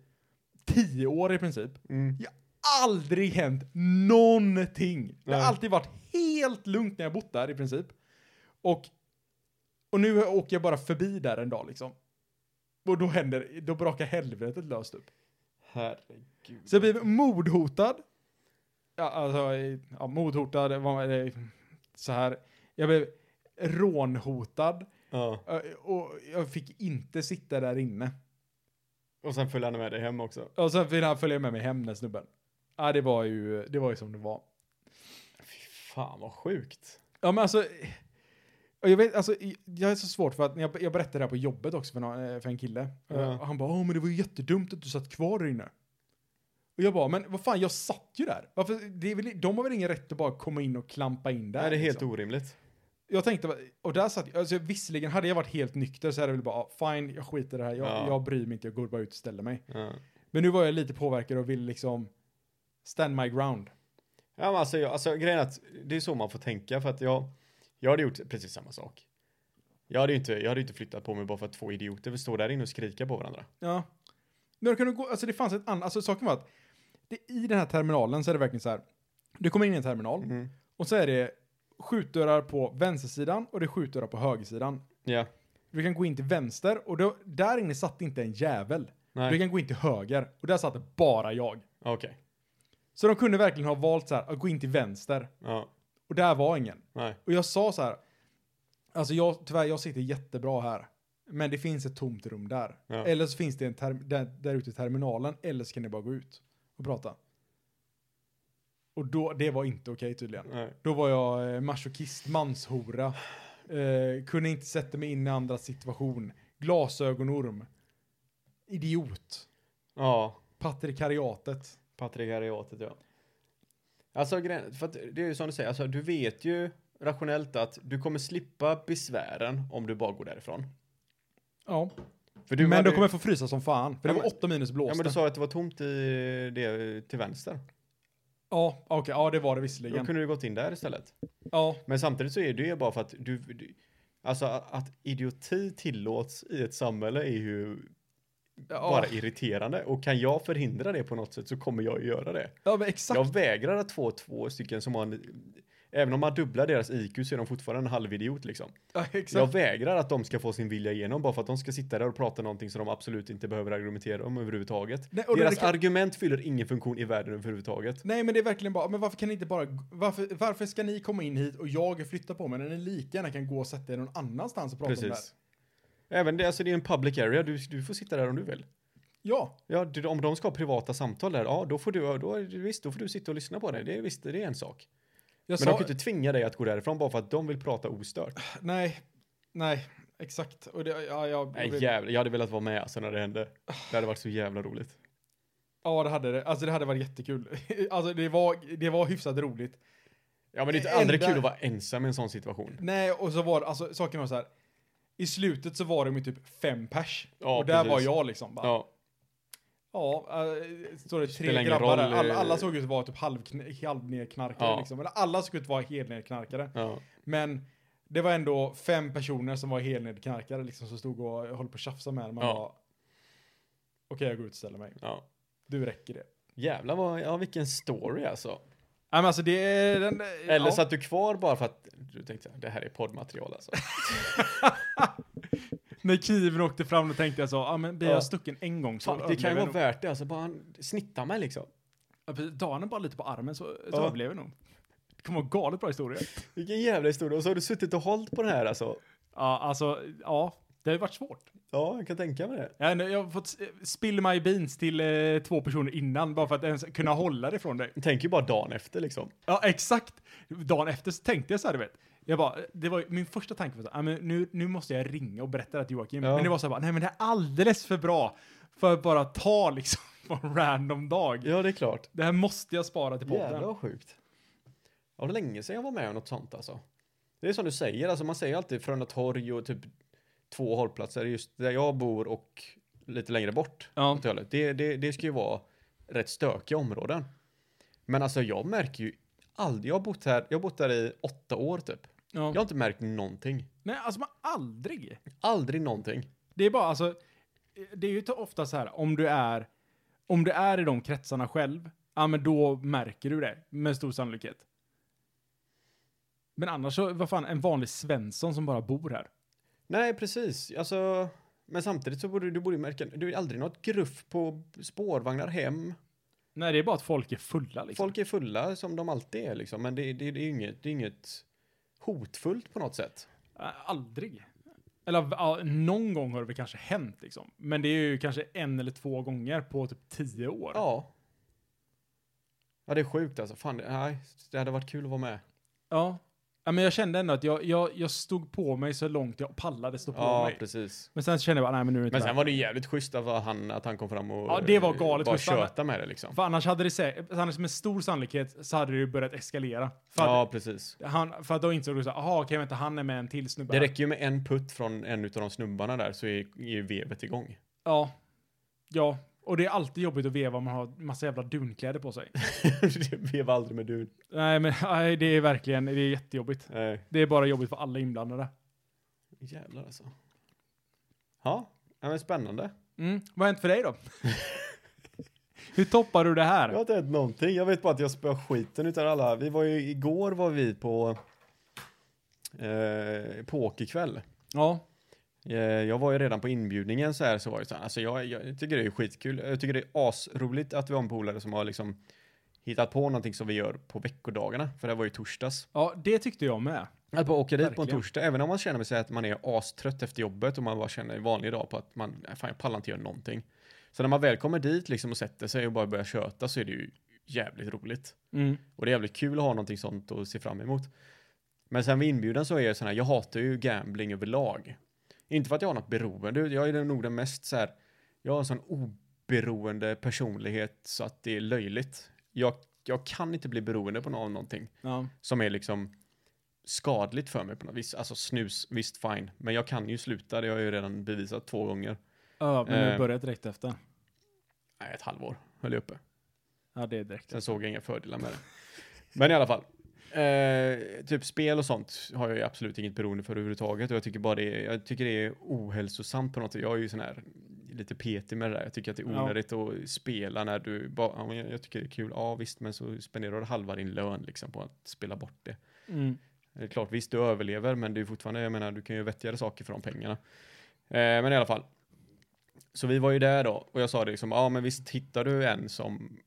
Speaker 1: tio år i princip.
Speaker 3: Mm.
Speaker 1: Jag har aldrig hänt någonting. Det har
Speaker 3: Nej.
Speaker 1: alltid varit helt lugnt när jag bott där i princip. Och, och nu åker jag bara förbi där en dag liksom. Och då händer, då brakar helvetet löst upp.
Speaker 3: Herregud.
Speaker 1: Så jag blev mordhotad. Ja, alltså, eh, ja, mordhotad, vad, eh, så här. Jag blev rånhotad.
Speaker 3: Ja.
Speaker 1: eh, Och jag fick inte sitta där inne.
Speaker 3: Och sen följer han med dig hem också.
Speaker 1: Och sen ville han följa med mig hem, den snubben. Ja, det var ju, det var ju som det var.
Speaker 3: Fy fan vad sjukt.
Speaker 1: Ja men alltså, och jag vet, alltså, jag är så svårt för att när jag, jag berättade det här på jobbet också för, någon, eh, för en kille.
Speaker 3: Ja.
Speaker 1: Eh, Och han bara, åh men det var ju jättedumt att du satt kvar där inne. Och jag bara, men vad fan jag satt ju där. Varför, det är väl, de har väl ingen rätt att bara komma in och klampa in där.
Speaker 3: Nej, det är helt
Speaker 1: liksom.
Speaker 3: orimligt.
Speaker 1: Jag tänkte, bara- och där satt jag, alltså, visserligen hade jag varit helt nykter så hade jag väl bara, ah, fine jag skiter i det här, jag,
Speaker 3: Ja.
Speaker 1: jag bryr mig inte, jag går bara ut och ställer mig.
Speaker 3: Ja.
Speaker 1: Men nu var jag lite påverkad och ville liksom stand my ground.
Speaker 3: Ja, men alltså, jag, alltså grejen är att det är så man får tänka för att jag, jag hade gjort precis samma sak. Jag hade ju inte, jag hade ju inte flyttat på mig bara för att två idioter vill stå där inne och skrika på varandra.
Speaker 1: Ja. Men då kan du gå, alltså det fanns ett annat, alltså saken var att det, i den här terminalen så är det verkligen så här. Du kommer in i en terminal
Speaker 3: Mm.
Speaker 1: och så är det skjutdörrar på vänstersidan och det är skjutdörrar på högersidan.
Speaker 3: Ja,
Speaker 1: Du kan gå in till vänster och då, där inne satt inte en jävel.
Speaker 3: Nej.
Speaker 1: Du kan gå in till höger och där satt bara jag.
Speaker 3: okej.
Speaker 1: Så de kunde verkligen ha valt så här att gå in till vänster
Speaker 3: Ja,
Speaker 1: och där var ingen.
Speaker 3: nej.
Speaker 1: Och jag sa så här. Alltså jag, tyvärr, jag sitter jättebra här. Men det finns ett tomt rum där.
Speaker 3: Ja.
Speaker 1: Eller så finns det en term, där, där ute i terminalen. Eller så kan ni bara gå ut och prata. Och då, det var inte okej tydligen.
Speaker 3: nej.
Speaker 1: Då var jag eh, masochist, manshora. Eh, kunde inte sätta mig in i andras situation. Glasögonorm. Idiot.
Speaker 3: Ja,
Speaker 1: Patrikariatet.
Speaker 3: patriarkatet ja. Alltså grejen, för att det är ju som du säger, alltså du vet ju rationellt att du kommer slippa besvären om du bara går därifrån.
Speaker 1: Ja.
Speaker 3: För du
Speaker 1: men
Speaker 3: hade
Speaker 1: då
Speaker 3: ju-
Speaker 1: kommer jag få frysa som fan. För
Speaker 3: Ja,
Speaker 1: det var
Speaker 3: men-
Speaker 1: åtta minus
Speaker 3: Ja
Speaker 1: blåste.
Speaker 3: men du sa att det var tomt i det till vänster.
Speaker 1: Ja, okej. ja, det var det
Speaker 3: Då
Speaker 1: visserligen.
Speaker 3: kunde du gått in där istället.
Speaker 1: Ja,
Speaker 3: Men samtidigt så är det ju bara för att du, du alltså att att idioti tillåts i ett samhälle är ju
Speaker 1: ja.
Speaker 3: bara irriterande och kan jag förhindra det på något sätt så kommer jag ju göra det.
Speaker 1: Ja, men exakt.
Speaker 3: Jag vägrar att få två stycken som har en, även om man dubblar deras IQ så är de fortfarande en halvidiot liksom.
Speaker 1: Ja, exakt.
Speaker 3: Jag vägrar att de ska få sin vilja igenom bara för att de ska sitta där och prata någonting som de absolut inte behöver argumentera om överhuvudtaget.
Speaker 1: Nej, och det-
Speaker 3: deras
Speaker 1: det kan-
Speaker 3: argument fyller ingen funktion i världen överhuvudtaget.
Speaker 1: Nej, men det är verkligen bara, men varför kan ni inte bara, varför, varför ska ni komma in hit och jag flytta på mig när ni lika gärna kan gå och sätta er någon annanstans och prata om det här?
Speaker 3: Precis. Även det, alltså det är en public area, du, du får sitta där om du vill.
Speaker 1: Ja,
Speaker 3: Ja, du, om de ska ha privata samtal där, ja då får du, då, är det- visst, då får du sitta och lyssna på det. Det är visst, det är en sak.
Speaker 1: jag
Speaker 3: Men
Speaker 1: sa, Ah,
Speaker 3: de kan ju inte tvinga dig att gå därifrån bara för att de vill prata ostört.
Speaker 1: nej, nej, exakt. Och det, ja, jag,
Speaker 3: Nej jävlar, jag hade velat vara med alltså när det hände. Det hade varit så jävla roligt.
Speaker 1: ja, det hade det, alltså det hade varit jättekul. (laughs) alltså det var, det var hyfsat roligt.
Speaker 3: Ja men det är
Speaker 1: Det
Speaker 3: inte aldrig
Speaker 1: enda-
Speaker 3: kul att vara ensam i en sån situation.
Speaker 1: Nej, och så var alltså saken var så här, i slutet så var de ju typ fem pers.
Speaker 3: Ja,
Speaker 1: och där
Speaker 3: precis.
Speaker 1: var jag liksom bara, ja,
Speaker 3: Ja,
Speaker 1: äh, står det
Speaker 3: Spelar
Speaker 1: tre
Speaker 3: ingen
Speaker 1: grabbar där.
Speaker 3: roll,
Speaker 1: Alla,
Speaker 3: eh.
Speaker 1: alla såg ut att vara typ halv, halvnerknarkare
Speaker 3: Ja.
Speaker 1: liksom. Eller alla såg ut att vara helnerknarkare.
Speaker 3: ja.
Speaker 1: Men det var ändå fem personer som var helnedknarkare liksom som stod och höll på att tjafsa med en. Man
Speaker 3: Ja.
Speaker 1: bara, okej jag går ut och ställer mig.
Speaker 3: ja.
Speaker 1: Du räcker det.
Speaker 3: Jävlar vad, ja vilken story alltså.
Speaker 1: Nej men alltså det är den... eh,
Speaker 3: Eller
Speaker 1: ja.
Speaker 3: satt du kvar bara för att du tänkte det här är
Speaker 1: (laughs)
Speaker 3: poddmaterial alltså.
Speaker 1: När kniven åkte fram då tänkte jag så, ja ah, men blir
Speaker 3: Ja.
Speaker 1: jag stucken en gång så
Speaker 3: Fan, det kan ju vara
Speaker 1: överlever
Speaker 3: värt det alltså, bara han snittar mig liksom.
Speaker 1: jag nog. Dagen bara lite på armen så, så
Speaker 3: Ja.
Speaker 1: överlever jag nog. Det kommer vara galet bra historia.
Speaker 3: Vilken jävla historia. Och så har du suttit och hållit på det här alltså.
Speaker 1: Ja alltså, ja. Det har ju varit svårt.
Speaker 3: Ja, jag kan tänka mig det.
Speaker 1: Jag, har ändå- jag har fått s- eh, spill my beans till eh, två personer innan bara för att ens kunna hålla det från dig.
Speaker 3: Tänk ju bara dagen efter liksom.
Speaker 1: Ja, exakt. Dagen efter så tänkte jag så här, du vet. Jag bara, det var, min första tanke var så här, "Ah, men nu, nu måste jag ringa och berätta det till Joakim.
Speaker 3: Ja.
Speaker 1: Men det var så här, bara, nej men det är alldeles för bra för att bara ta (laughs) liksom på en random dag.
Speaker 3: Ja, det är klart.
Speaker 1: Det här måste jag spara till podden.
Speaker 3: Jävlar vad sjukt. Ja, det var länge sedan jag var med om något sånt alltså. Det är som du säger, alltså man säger alltid Frölunda torg och typ två hållplatser just där jag bor och lite längre bort.
Speaker 1: Ja.
Speaker 3: åt hållet. Det, det, det ska ju vara rätt stökiga områden. Men alltså jag märker ju aldrig, jag har bott här, jag har bott här i åtta år typ.
Speaker 1: Ja.
Speaker 3: Jag har inte märkt någonting.
Speaker 1: Nej, alltså man aldrig.
Speaker 3: Aldrig någonting.
Speaker 1: Det är bara alltså, det är ju ofta så här om du är, om du är i de kretsarna själv, ja men då märker du det med stor sannolikhet. Men annars så, vad fan, en vanlig Svensson som bara bor här.
Speaker 3: Nej, precis. Alltså, men samtidigt så borde du borde ju märka, du är aldrig något gruff på spårvagnar hem.
Speaker 1: Nej, det är bara att folk är fulla liksom.
Speaker 3: Folk är fulla som de alltid är liksom, men det, det, det, är, inget, det är inget hotfullt på något sätt.
Speaker 1: Äh, Aldrig. Eller ja, någon gång har det väl kanske hänt liksom. Men det är ju kanske en eller två gånger på typ tio år.
Speaker 3: Ja. Ja, det är sjukt alltså. Fan, det, nej, det hade varit kul att vara med.
Speaker 1: Ja. Ja, men jag kände ändå att jag, jag, jag stod på mig så långt jag pallade stå på
Speaker 3: Ja,
Speaker 1: mig.
Speaker 3: precis.
Speaker 1: Men sen så kände jag bara, nej men nu är det inte
Speaker 3: Men
Speaker 1: värt
Speaker 3: sen var det ju jävligt schysst av han, att han kom fram och
Speaker 1: Ja, det var
Speaker 3: eh,
Speaker 1: galet
Speaker 3: bara
Speaker 1: schysst, va?
Speaker 3: tjöta med det liksom.
Speaker 1: För annars hade det säkert, annars med stor sannolikhet så hade det ju börjat eskalera. För,
Speaker 3: Ja, precis.
Speaker 1: att, han, för att då insåg du såhär, jaha okej vänta han är med en till snubbe.
Speaker 3: Det
Speaker 1: här."
Speaker 3: räcker ju med en putt från en av de snubbarna där så är, är vevet igång. (laughs)
Speaker 1: Ja. Ja. Och det är alltid jobbigt att veva om man har massa jävla dunkläder på sig.
Speaker 3: Det Veva aldrig med du.
Speaker 1: nej men (laughs) nej, det är verkligen, det är jättejobbigt.
Speaker 3: Nej,
Speaker 1: Det är bara jobbigt för alla inblandade.
Speaker 3: jävlar alltså. Ja, ja, men spännande.
Speaker 1: Mm. Vad har hänt för dig
Speaker 3: (laughs)
Speaker 1: då? Hur toppar du det här?
Speaker 3: Jag har inte hänt någonting. Jag vet bara att jag spöar skiten utan alla. Vi var ju, igår var vi på eh, pokerkväll.
Speaker 1: Ja.
Speaker 3: Eh, jag var ju redan på inbjudningen så här så var det så här. Alltså jag, jag tycker det är skitkul. Jag tycker det är asroligt att vi har en polare som har liksom hittat på någonting som vi gör på veckodagarna. För det här var ju torsdags.
Speaker 1: Ja, det tyckte jag med.
Speaker 3: Att bara åka dit på en
Speaker 1: Verkligen.
Speaker 3: torsdag, även om man känner sig att man är astrött efter jobbet och man bara känner en vanlig dag på att man, nej, fan jag pallar inte göra någonting. Så när man väl kommer dit liksom och sätter sig och bara börjar köta så är det ju jävligt roligt.
Speaker 1: Mm.
Speaker 3: Och det är jävligt kul att ha någonting sånt att se fram emot. Men sen vid inbjudan så är jag sån här, jag hatar ju gambling överlag. Inte för att jag har något beroende, jag är nog den mest så här, jag har en sån oberoende personlighet så att det är löjligt. Jag, jag kan inte bli beroende på någon, någonting
Speaker 1: Ja.
Speaker 3: som är liksom skadligt för mig på något vis. Alltså snus, visst fine, men jag kan ju sluta, det har jag ju redan bevisat två gånger.
Speaker 1: ja, men
Speaker 3: Eh.
Speaker 1: nu börjar direkt efter.
Speaker 3: Nej, ett halvår höll jag uppe.
Speaker 1: Ja, det är direkt.
Speaker 3: Sen såg jag inga fördelar med det. Men i alla fall. Eh, typ spel och sånt har jag ju absolut inget beroende för överhuvudtaget och jag tycker bara det är, jag tycker det är ohälsosamt på något sätt. Jag är ju sån här lite petig med det där. Jag tycker att det är
Speaker 1: Ja.
Speaker 3: onödigt att spela när du bara, ja, men jag, jag tycker det är kul, ja visst, men så spenderar du halva din lön liksom på att spela bort det.
Speaker 1: Mm.
Speaker 3: Det är klart, visst du överlever, men det är fortfarande, jag menar, du kan ju göra vettigare saker för de pengarna. Eh, men i alla fall. Så vi var ju där då, och jag sa det liksom, ja men visst hittar du en som,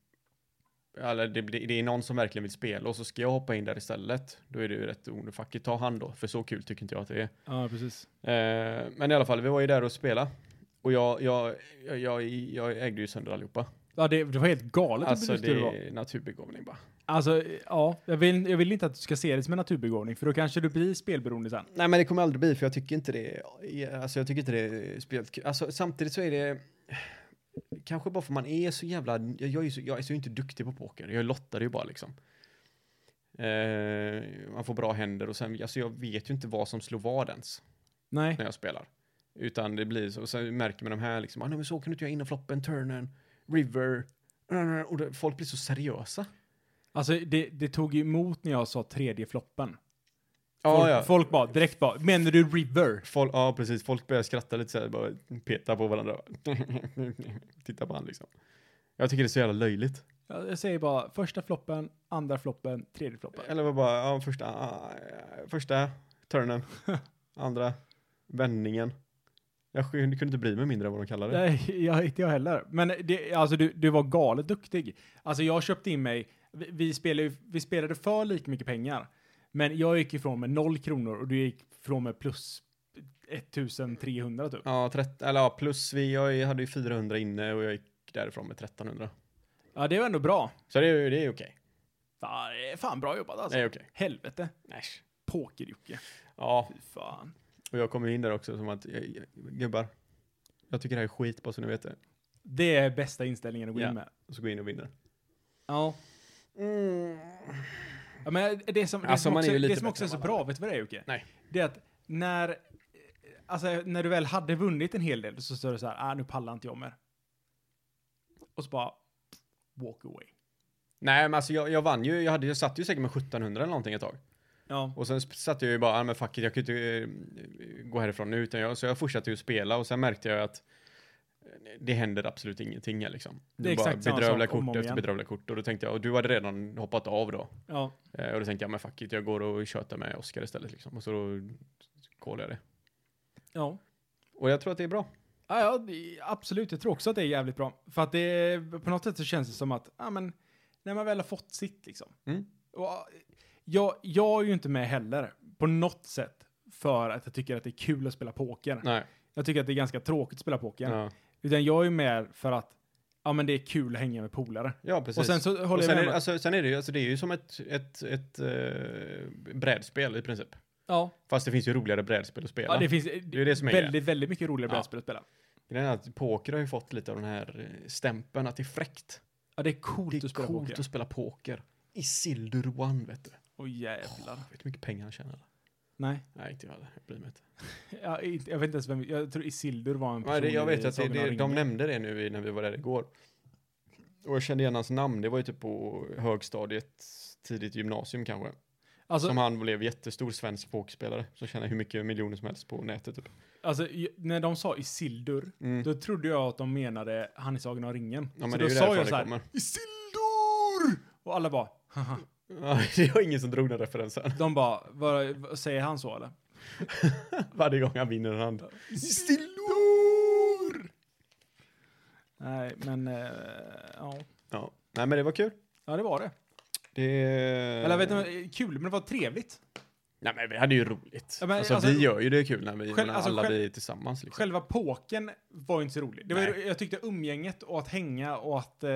Speaker 3: eller det, det, det är någon som verkligen vill spela och så ska jag hoppa in där istället. Då är det ju rätt onödigt, ta hand då, för så kul tycker inte jag att det är.
Speaker 1: Ja, precis.
Speaker 3: Eh, men i alla fall, vi var ju där och spela. Och jag, jag, jag, jag, jag ägde ju sönder allihopa.
Speaker 1: Ja, det, det var helt galet
Speaker 3: Alltså
Speaker 1: hur duktig du
Speaker 3: det
Speaker 1: var.
Speaker 3: är naturbegåvning bara.
Speaker 1: Alltså, ja. Jag vill, jag vill inte att du ska se det som en naturbegåvning, för då kanske du blir spelberoende sen.
Speaker 3: Nej men det kommer aldrig bli för jag tycker inte det är- alltså jag tycker inte det är speciellt kul. Alltså samtidigt så är det kanske bara för man är så jävla, jag, jag är ju så, jag är så inte duktig på poker, jag lottar ju bara liksom. Eh, man får bra händer och sen, alltså jag vet ju inte vad som slår vad ens
Speaker 1: Nej.
Speaker 3: när jag spelar. Utan det blir så, och sen märker man de här liksom, ah, nej men så kan du inte göra innan floppen, turnen, river, och det, folk blir så seriösa.
Speaker 1: Alltså, det, det tog ju emot när jag sa tredje floppen.
Speaker 3: Ja,
Speaker 1: folk,
Speaker 3: ja.
Speaker 1: folk bara, direkt bara, menar du river?
Speaker 3: Folk, ja, precis. Folk börjar skratta lite så här, bara peta på varandra. (laughs) Titta på han liksom. Jag tycker det är så jävla löjligt.
Speaker 1: Jag, jag säger bara, första floppen, andra floppen, tredje floppen.
Speaker 3: Eller var bara, ja, första, ah, första
Speaker 1: (laughs)
Speaker 3: turnen, andra vändningen. Jag sk- kunde inte bry mig mindre vad de kallade det.
Speaker 1: Nej, jag, inte jag heller. Men det, alltså, du, du var galet duktig. Alltså jag köpte in mig, vi, vi, spelade, ju- vi spelade för lika mycket pengar. Men jag gick ifrån med noll kronor och du gick ifrån med plus 1300 typ.
Speaker 3: Ja, trett, eller, ja, plus vi, jag hade ju 400 inne och jag gick därifrån med 1300.
Speaker 1: Ja, det var ändå bra.
Speaker 3: Så det, är ju- det är okej.
Speaker 1: eh, Fan, det är fan bra jobbat alltså.
Speaker 3: Det är okej.
Speaker 1: Helvete.
Speaker 3: Äsch.
Speaker 1: Poker-Jocke.
Speaker 3: Ja,
Speaker 1: Fy fan.
Speaker 3: och jag kom ju in där också som att, jag, jag, gubbar, jag tycker det här är skit bara så ni vet det.
Speaker 1: Det är bästa inställningen att gå
Speaker 3: Ja.
Speaker 1: in med.
Speaker 3: Och så går jag in och vinner.
Speaker 1: Ja. Mm. ja men det som, det
Speaker 3: Alltså,
Speaker 1: som
Speaker 3: man är
Speaker 1: också,
Speaker 3: ju lite
Speaker 1: det som också är
Speaker 3: bättre
Speaker 1: så
Speaker 3: än
Speaker 1: bra, vet du vad det är Jocke?
Speaker 3: Nej.
Speaker 1: Det är att när, eh, alltså, när du väl hade vunnit en hel del så står det så här, ah, nu pallar inte jag mer. Och så bara, walk away.
Speaker 3: Nej, men alltså jag, jag vann ju, jag, hade, jag satt ju säkert med 1700 eller någonting ett tag.
Speaker 1: Ja.
Speaker 3: Och sen sp- satt jag ju bara, ah, men fuck it, jag kan ju inte eh, gå härifrån nu. Utan jag, så jag fortsatte ju spela och sen märkte jag att eh, det händer absolut ingenting här, liksom.
Speaker 1: Det är exakt samma
Speaker 3: bedrövliga
Speaker 1: sak om och
Speaker 3: kort
Speaker 1: om
Speaker 3: efter
Speaker 1: igen.
Speaker 3: bedrövliga kort. Och då tänkte jag, och du hade redan hoppat av då.
Speaker 1: ja.
Speaker 3: Eh, och då tänkte jag, men fuck it, jag går och tjötar med Oscar istället liksom. Och så då kollar jag det.
Speaker 1: Ja.
Speaker 3: Och jag tror att det är bra.
Speaker 1: Ja, ja, det- absolut. Jag tror också att det är jävligt bra. För att det, på något sätt så känns det som att, ja men, när man väl har fått sitt liksom.
Speaker 3: Mm.
Speaker 1: Och, ja, jag, jag är ju inte med heller, på något sätt, för att jag tycker att det är kul att spela poker.
Speaker 3: Nej.
Speaker 1: Jag tycker att det är ganska tråkigt att spela poker.
Speaker 3: Ja,
Speaker 1: Utan jag är ju med för att, ja men det är kul att hänga med polare.
Speaker 3: ja precis.
Speaker 1: Och sen så håller
Speaker 3: Och
Speaker 1: jag
Speaker 3: sen
Speaker 1: med
Speaker 3: är,
Speaker 1: om
Speaker 3: det-
Speaker 1: att-
Speaker 3: alltså, sen är det ju, alltså det är ju som ett, ett, ett eh, brädspel i princip.
Speaker 1: ja,
Speaker 3: Fast det finns ju roligare brädspel att spela.
Speaker 1: ja, det finns
Speaker 3: är det som är
Speaker 1: väldigt, väldigt mycket roligare
Speaker 3: Ja.
Speaker 1: brädspel att spela.
Speaker 3: Grejen är att poker har ju fått lite av den här eh, stämpeln att det är fräckt.
Speaker 1: Ja, det är coolt
Speaker 3: Det är
Speaker 1: att spela
Speaker 3: coolt
Speaker 1: poker.
Speaker 3: att spela poker. I Sildur One vet du.
Speaker 1: Åh jävlar.
Speaker 3: Vet du hur mycket pengar han tjänar?
Speaker 1: Nej,
Speaker 3: Nej, inte jag heller. Jag bryr mig inte.
Speaker 1: jag, jag vet inte ens vem, jag tror Isildur var en person
Speaker 3: Nej, det, jag
Speaker 1: i
Speaker 3: vet att det,
Speaker 1: Sagan om
Speaker 3: det, de
Speaker 1: ringen.
Speaker 3: nämnde det nu i- när vi var där igår. Och jag kände igen hans namn. Det var ju typ på högstadiet, tidigt gymnasium kanske.
Speaker 1: Alltså,
Speaker 3: som han blev jättestor svensk pokerspelare. Som tjänar hur mycket miljoner som helst på nätet typ. (laughs)
Speaker 1: Alltså, j- när de sa Isildur,
Speaker 3: Mm.
Speaker 1: då trodde jag att de menade han i Sagan om ringen.
Speaker 3: Ja, men
Speaker 1: så
Speaker 3: det är
Speaker 1: då
Speaker 3: ju
Speaker 1: sa
Speaker 3: därifrån
Speaker 1: jag
Speaker 3: det
Speaker 1: så här,
Speaker 3: kommer.
Speaker 1: Isildur! Och alla bara, haha.
Speaker 3: Ja, det var ingen som drog den referensen. (laughs)
Speaker 1: De bara, vad, vad säger han så eller?
Speaker 3: Varje gång han vinner en hand. Sildur!
Speaker 1: Nej, men eh, ja.
Speaker 3: Ja, nej men det var kul.
Speaker 1: Ja, det var det.
Speaker 3: Det...
Speaker 1: Eller vet du, eh, kul, men det var trevligt.
Speaker 3: Nej men vi hade ju roligt.
Speaker 1: Ja, men
Speaker 3: alltså,
Speaker 1: alltså-
Speaker 3: vi gör ju det kul när vi,
Speaker 1: Själv-
Speaker 3: när
Speaker 1: alltså,
Speaker 3: alla
Speaker 1: själv-
Speaker 3: vi är tillsammans liksom.
Speaker 1: Själva påken var ju inte så rolig. Det var, ju-
Speaker 3: Nej.
Speaker 1: jag tyckte umgänget och att hänga och att eh,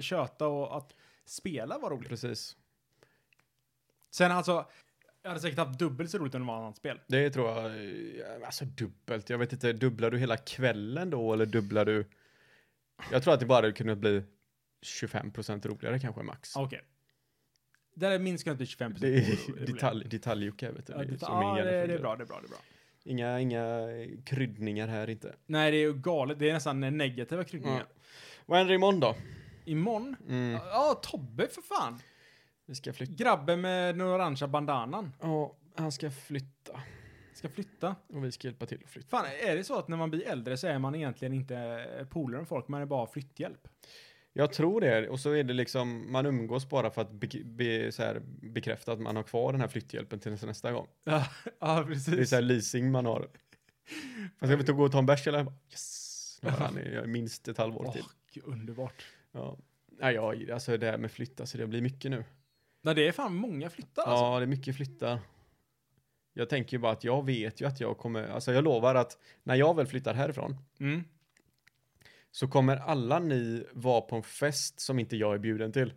Speaker 1: köta och att spela var roligt.
Speaker 3: Precis.
Speaker 1: Sen alltså, jag hade säkert haft dubbelt så roligt om det var ett annat spel.
Speaker 3: Det tror jag, eh, alltså dubbelt. Jag vet inte, dubblar du hela kvällen då eller dubblar du? Jag tror att det bara hade kunnat bli 25% roligare kanske max.
Speaker 1: Ah, Okej. Där är minst kanske 25
Speaker 3: Det är detalj, detaljjocka vet du.
Speaker 1: Ja, det,
Speaker 3: som min
Speaker 1: ja,
Speaker 3: hjärna
Speaker 1: det, det är
Speaker 3: fungerar.
Speaker 1: bra, det är bra, det är bra.
Speaker 3: Inga, inga kryddningar här inte.
Speaker 1: Nej, det är ju galet. Det är nästan negativa kryddningar.
Speaker 3: Ja. Vad händer imorgon då?
Speaker 1: Imorgon?
Speaker 3: Mm.
Speaker 1: Ja, ah, Tobbe för fan!
Speaker 3: Vi ska flytta.
Speaker 1: Grabben med den orangea bandanan
Speaker 3: Ja, han ska flytta.
Speaker 1: ska flytta.
Speaker 3: Och vi ska hjälpa till att flytta.
Speaker 1: Fan, är det så att när man blir äldre så är man egentligen inte polare med folk, man är bara flytthjälp?
Speaker 3: Jag tror det. Och så är det liksom, man umgås bara för att be, be, så här, bekräfta att man har kvar den här flytthjälpen till nästa- nästa gång.
Speaker 1: Ja, (laughs) ja
Speaker 3: Det är
Speaker 1: precis.
Speaker 3: så här leasing man har. Man ska vi inte gå och ta en bärs eller? Jag bara, Yes! Nu har han i minst ett halvår till.
Speaker 1: Åh, gud, underbart.
Speaker 3: Ja. Nej, jag, alltså det här med flytta, så det blir mycket nu.
Speaker 1: Nej, det är fan många flyttar alltså.
Speaker 3: Ja, det är mycket flyttar. Jag tänker ju bara att jag vet ju att jag kommer, alltså jag lovar att när jag väl flyttar härifrån
Speaker 1: Mm. (laughs)
Speaker 3: så kommer alla ni vara på en fest som inte jag är bjuden till.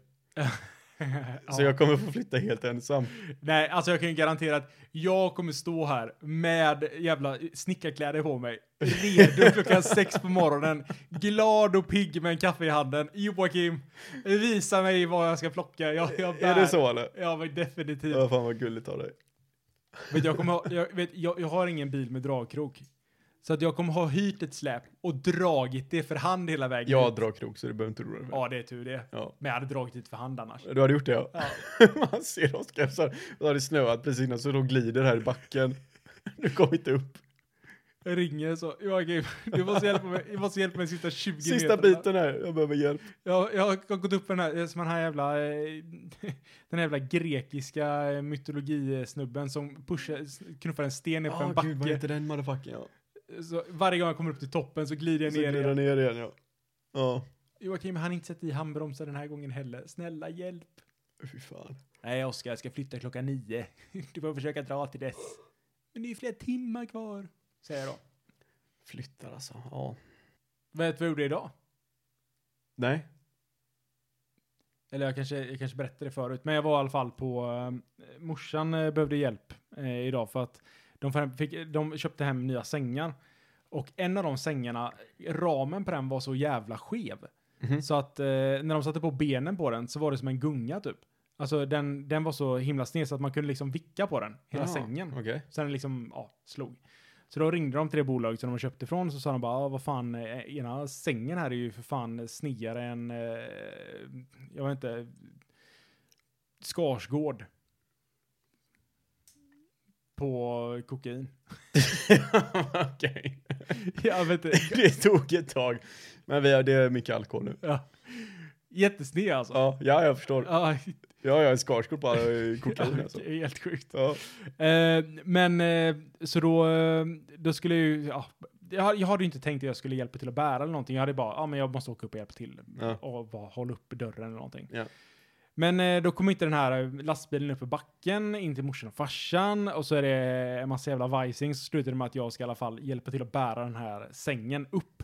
Speaker 3: Så
Speaker 1: Ja.
Speaker 3: jag kommer få flytta helt ensam.
Speaker 1: Nej, alltså jag kan ju garantera att jag kommer stå här med jävla snickarkläder på mig, redo
Speaker 3: (laughs)
Speaker 1: klockan sex på morgonen, glad och pigg med en kaffe i handen. Joakim, visa mig vad jag ska plocka. Jag, jag bär.
Speaker 3: Är det så eller?
Speaker 1: Ja, men definitivt.
Speaker 3: Ja, fan vad gulligt av dig.
Speaker 1: Vet, jag, kommer ha, jag, vet, jag, jag har ingen bil med dragkrok. Så att jag kommer ha hyrt ett släp och dragit det för hand hela vägen.
Speaker 3: Jag
Speaker 1: ut.
Speaker 3: drar krok så du behöver inte
Speaker 1: Mm. Ja,
Speaker 3: oroa dig. för det.
Speaker 1: det är tur det.
Speaker 3: Ja.
Speaker 1: Men jag hade dragit dit för hand annars.
Speaker 3: Du hade gjort det ja.
Speaker 1: Ja.
Speaker 3: (laughs) Man ser Oskar så här, då har det snöat precis innan så de glider här i backen. (laughs) Du kommer inte upp.
Speaker 1: Jag ringer så, Joakim, du måste hjälpa mig, du måste hjälpa mig sista 20
Speaker 3: Sista
Speaker 1: meterna.
Speaker 3: biten här, jag behöver hjälp.
Speaker 1: Jag, jag har gått upp på den här, som den här jävla, eh, (laughs) den här jävla grekiska eh, mytologisnubben som pushar, knuffar en sten ner för en
Speaker 3: Ah, gud, vad
Speaker 1: backe.
Speaker 3: heter den motherfucking? Ja.
Speaker 1: Så varje gång jag kommer upp till toppen så glider jag
Speaker 3: Så
Speaker 1: ner
Speaker 3: glider den
Speaker 1: igen.
Speaker 3: ner igen ja. Ja,
Speaker 1: Joakim, han har inte sett i handbromsen den här gången heller. Snälla hjälp.
Speaker 3: fy fan.
Speaker 1: Nej, Oskar, jag ska flytta klockan nio. (laughs) Du får försöka dra till dess. Men det är ju flera timmar kvar, säger jag då.
Speaker 3: Flyttar alltså, ja.
Speaker 1: Vet du vad jag gjorde idag?
Speaker 3: Nej.
Speaker 1: Eller jag kanske, jag kanske berättade det förut, men jag var i alla fall på, eh, morsan eh, behövde hjälp eh, idag för att de, fem- fick, de köpte hem nya sängar. Och en av de sängarna, ramen på den var så jävla skev.
Speaker 3: Mhm.
Speaker 1: Så att eh, när de satte på benen på den så var det som en gunga typ. Alltså den, den var så himla sned så att man kunde liksom vicka på den, hela
Speaker 3: Ja,
Speaker 1: sängen.
Speaker 3: Okej. (laughs)
Speaker 1: Så den liksom, ja, slog. Så då ringde de till det bolag som de köpte ifrån, så sa de bara, ah, vad fan, eh, ena sängen här är ju för fan snigare än, eh, jag vet inte, Skarsgård. På kokain. (laughs)
Speaker 3: Okej.
Speaker 1: Jag vet inte.
Speaker 3: Det tog ett tag. Men vi har, det är mycket alkohol nu.
Speaker 1: Ja. Jättesned alltså.
Speaker 3: Ja, ja jag förstår.
Speaker 1: Ja,
Speaker 3: Ja, jag är skarsgård på eh, kokain alltså.
Speaker 1: helt sjukt.
Speaker 3: Ja.
Speaker 1: (laughs) Eh, men eh, så då, eh, då skulle jag ju, ja, jag, hade- jag hade ju inte tänkt att jag skulle hjälpa till att bära eller någonting. Jag hade bara, ja men jag måste åka upp och hjälpa till
Speaker 3: Ja.
Speaker 1: och bara hålla upp dörren eller någonting.
Speaker 3: Ja.
Speaker 1: Men eh, då kommer inte den här eh, lastbilen upp i backen, in till morsan och farsan och så är det en massa jävla vajsing så slutar det med att jag ska i alla fall hjälpa till att bära den här sängen upp.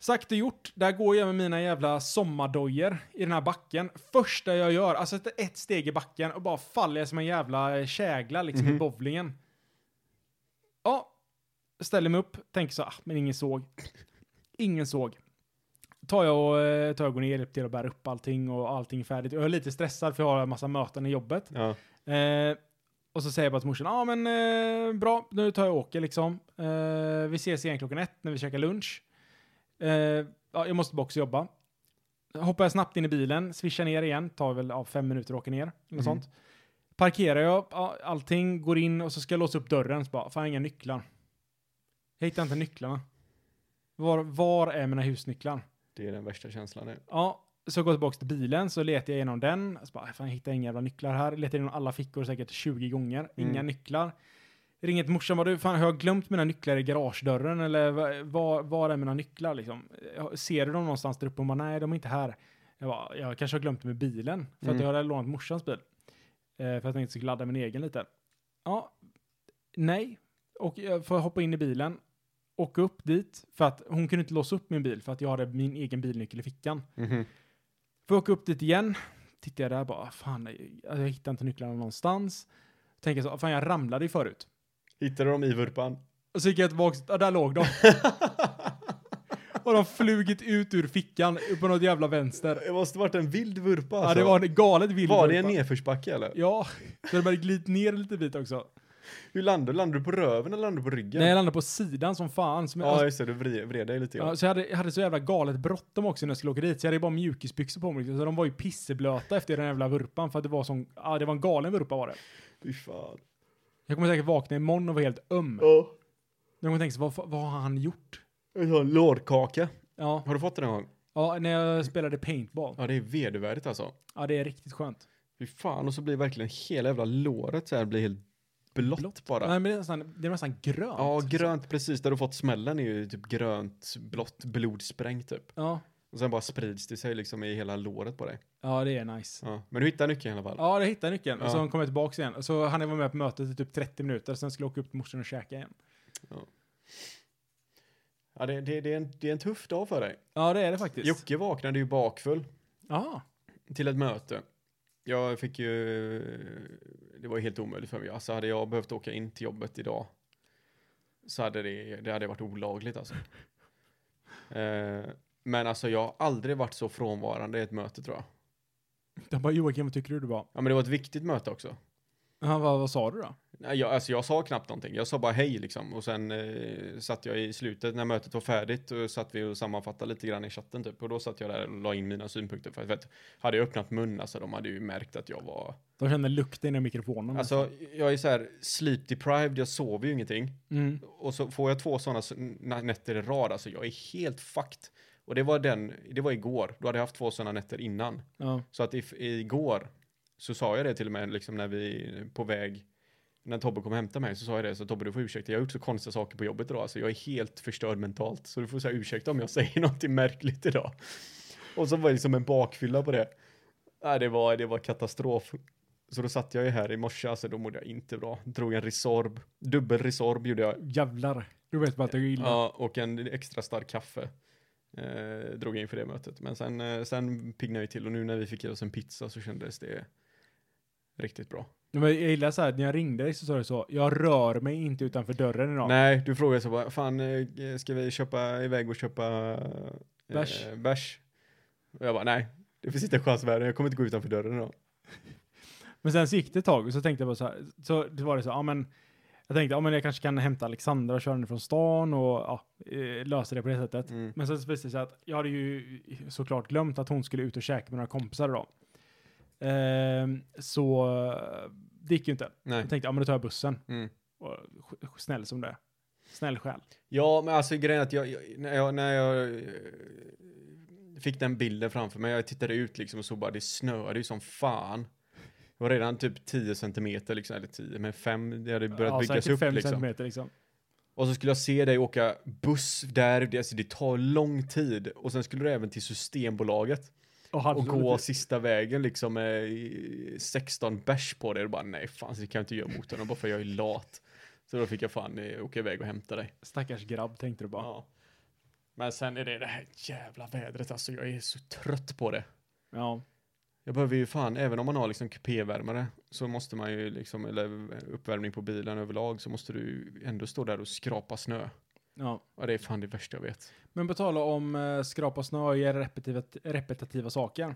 Speaker 1: Sagt och gjort, där går jag med mina jävla sommardojor i den här backen. Första jag gör, alltså ett- ett steg i backen och bara faller jag som en jävla kägla liksom i
Speaker 3: Mhm.
Speaker 1: bowlingen. Ja, ställer mig upp, tänker så, ah, men ingen såg. Ingen såg. Tar jag och, eh, tar jag och går ner, hjälper till att bära upp allting och allting är färdigt. Jag är lite stressad för jag har en massa möten i jobbet.
Speaker 3: Ja.
Speaker 1: Eh, och så säger jag bara till morsan, ja ah, men eh, bra, nu tar jag och åker liksom. Eh, vi ses igen klockan ett när vi käkar lunch. Eh, ja, jag måste bara också jobba. Hoppar jag snabbt in i bilen, swishar ner igen, tar väl ja, fem minuter att åka ner. Eller
Speaker 3: Mm.
Speaker 1: sånt. Parkerar jag, ja, allting, går in och så ska jag låsa upp dörren. Så bara, fan inga nycklar. Jag hittar inte nycklarna. Var, var är mina husnycklar?
Speaker 3: Det är den värsta känslan nu.
Speaker 1: Ja, så går jag tillbaka till bilen, så letar jag igenom den. Så bara, fan, jag hittar inga jävla nycklar här. Letar igenom alla fickor säkert 20 gånger. Inga
Speaker 3: Mm.
Speaker 1: nycklar. Ringer till morsan, vad du, fan har jag glömt mina nycklar i garagedörren? Eller va- var, var är mina nycklar liksom? Jag- Ser du dem någonstans där uppe? Hon bara, nej de är inte här. Jag bara, jag kanske har glömt dem i bilen. För att
Speaker 3: Mm.
Speaker 1: jag hade lånat morsans bil. Eh, för att jag inte skulle ladda min egen lite. Ja, nej. Och jag får hoppa in i bilen. Åka upp dit. För att hon kunde inte låsa upp min bil. För att jag hade min egen bilnyckel i fickan.
Speaker 3: Mhm.
Speaker 1: Får åka upp dit igen. Tittar jag där bara, fan, jag, jag hittar inte nycklarna någonstans. Tänker så, fan jag ramlade ju förut.
Speaker 3: Hittade de i vurpan?
Speaker 1: Och så gick jag tillbaka, ja, där
Speaker 3: (laughs)
Speaker 1: låg de. och de flugit ut ur fickan upp på något jävla vänster.
Speaker 3: Det måste varit en vild vurpa
Speaker 1: Ja,
Speaker 3: alltså.
Speaker 1: det var en galet vild
Speaker 3: Var det en
Speaker 1: vurpa.
Speaker 3: nedförsbacke eller?
Speaker 1: Ja, så det började glida ner lite bit också.
Speaker 3: Hur landade du? Landade du på röven eller landade du på ryggen?
Speaker 1: Nej, jag landade på sidan som fan. Som alltså,
Speaker 3: ja, just det. Du vri- vred dig lite grann.
Speaker 1: Ja, så jag hade, jag hade så jävla galet bråttom också när jag skulle åka dit, så jag hade ju bara mjukisbyxor på mig. liksom. Så de var ju pisseblöta efter den jävla vurpan, för att det var som, ja det var en galen vurpa var det.
Speaker 3: Fy fan.
Speaker 1: Jag kommer säkert vakna imorgon och vara helt öm.
Speaker 3: Ja.
Speaker 1: De kommer tänka sig, vad, fa- vad har han gjort?
Speaker 3: Jag har en Lårkaka.
Speaker 1: Ja,
Speaker 3: Har du fått den någon gång?
Speaker 1: ja när jag spelade paintball.
Speaker 3: Ja, det är vedervärdigt alltså.
Speaker 1: Ja, det är riktigt skönt.
Speaker 3: Fy fan. Och så blir verkligen hela jävla låret så här blir helt blått, bara.
Speaker 1: Nej, men det är nästan, det är nästan grönt.
Speaker 3: Ja, grönt precis. Där du fått smällen är ju typ grönt, blått blodsprängt typ.
Speaker 1: ja.
Speaker 3: Och sen bara sprids det sig liksom i hela låret på dig.
Speaker 1: ja, det är nice.
Speaker 3: Ja. Men du hittar nyckeln i alla fall.
Speaker 1: Ja, det hittade nyckeln. Och
Speaker 3: Ja.
Speaker 1: så kom jag tillbaka igen. Och så han jag vara med på mötet i typ 30 minuter, sen skulle jag åka upp till morsan och käka igen.
Speaker 3: Ja, det, det, det, är en, det är en tuff dag för dig.
Speaker 1: Ja, det är det faktiskt.
Speaker 3: Jocke vaknade ju bakfull
Speaker 1: Ja.
Speaker 3: till ett möte. Jag fick ju... Det var ju helt omöjligt för mig. Alltså hade jag behövt åka in till jobbet idag så hade det, det hade varit olagligt alltså. eh, men alltså jag har aldrig varit så frånvarande i ett möte tror jag.
Speaker 1: De bara, Joakim, vad tycker du? Du bara,
Speaker 3: Ja men det var ett viktigt möte också.
Speaker 1: ja, vad, vad sa du då?
Speaker 3: Nej, jag, alltså jag sa knappt någonting. Jag sa bara hej liksom. Och sen eh, satt jag i slutet när mötet var färdigt och satt vi och sammanfattade lite grann i chatten typ. Och då satt jag där och la in mina synpunkter. För att vet, hade jag öppnat mun alltså de hade ju märkt att jag var...
Speaker 1: De kände lukten i mikrofonen.
Speaker 3: Alltså jag är så här sleep deprived, jag sover ju ingenting.
Speaker 1: Mm.
Speaker 3: Och så får jag två sådana nätter i rad, alltså jag är helt fucked. Och det var den, det var igår. Då hade jag haft två sådana nätter innan.
Speaker 1: Ja.
Speaker 3: Så att if, igår så sa jag det till och med liksom när vi på väg, när Tobbe kom och hämta mig så sa jag det, så Tobbe du får ursäkta, jag har gjort så konstiga saker på jobbet idag, alltså jag är helt förstörd mentalt, så du får säga ursäkta om jag (laughs) säger någonting märkligt idag. Och så var det liksom en bakfylla på det. Nej, det var, det var katastrof. Så då satt jag ju här i morse, alltså då mådde jag inte bra. Drog en Resorb, dubbel Resorb gjorde jag.
Speaker 1: Jävlar. Du vet bara att det är illa.
Speaker 3: Ja, och en extra stark kaffe. Eh, drog jag in för det mötet. Men sen, eh, sen piggnade vi till och nu när vi fick ge oss en pizza så kändes det riktigt bra.
Speaker 1: Men jag gillar så här, när jag ringde dig så sa du så, jag rör mig inte utanför dörren idag.
Speaker 3: Nej, du frågade så bara, fan eh, ska vi köpa iväg och köpa eh,
Speaker 1: Bärs.
Speaker 3: bärs? Och jag bara, nej, det finns inte en chans i världen, jag kommer inte gå utanför dörren idag.
Speaker 1: Men sen så gick det ett tag och så tänkte jag bara så här, så det var det så, ja men jag tänkte, ja men jag kanske kan hämta Alexandra och köra henne från stan och ja, eh, lösa det på det sättet.
Speaker 3: Mm.
Speaker 1: Men sen så visade det sig att jag hade ju såklart glömt att hon skulle ut och käka med några kompisar idag. Ehm, så eh, det gick ju inte.
Speaker 3: Nej.
Speaker 1: Jag tänkte, ja men då tar jag bussen.
Speaker 3: Mm.
Speaker 1: Och, sj- snäll som det är. Snäll själ.
Speaker 3: Ja, men alltså grejen är att jag, jag, när jag, när jag eh, fick den bilden framför mig, jag tittade ut liksom och såg bara det snöade ju som fan. Det var redan typ 10 centimeter liksom, eller 10, men 5, det hade börjat
Speaker 1: ja,
Speaker 3: byggas
Speaker 1: säkert
Speaker 3: upp
Speaker 1: fem
Speaker 3: liksom.
Speaker 1: centimeter liksom.
Speaker 3: Och så skulle jag se dig åka buss där, det, alltså det tar lång tid. Och sen skulle du även till Systembolaget
Speaker 1: Och, hade
Speaker 3: och
Speaker 1: du-
Speaker 3: gå sista vägen liksom med eh, 16 bärs på dig. Och bara nej, fan så det kan jag inte göra mot honom bara för jag är lat. Så då fick jag fan eh, åka iväg och hämta dig.
Speaker 1: Stackars grabb tänkte du bara. Ja.
Speaker 3: Ja. Men sen är det det här jävla vädret, alltså jag är så trött på det. Jag behöver ju fan, även om man har liksom kupévärmare så måste man ju liksom, eller uppvärmning på bilen överlag så måste du ändå stå där och skrapa snö.
Speaker 1: ja.
Speaker 3: Ja, det är fan det värsta jag vet.
Speaker 1: Men på tal om eh, skrapa snö och göra repetitiva, repetitiva saker.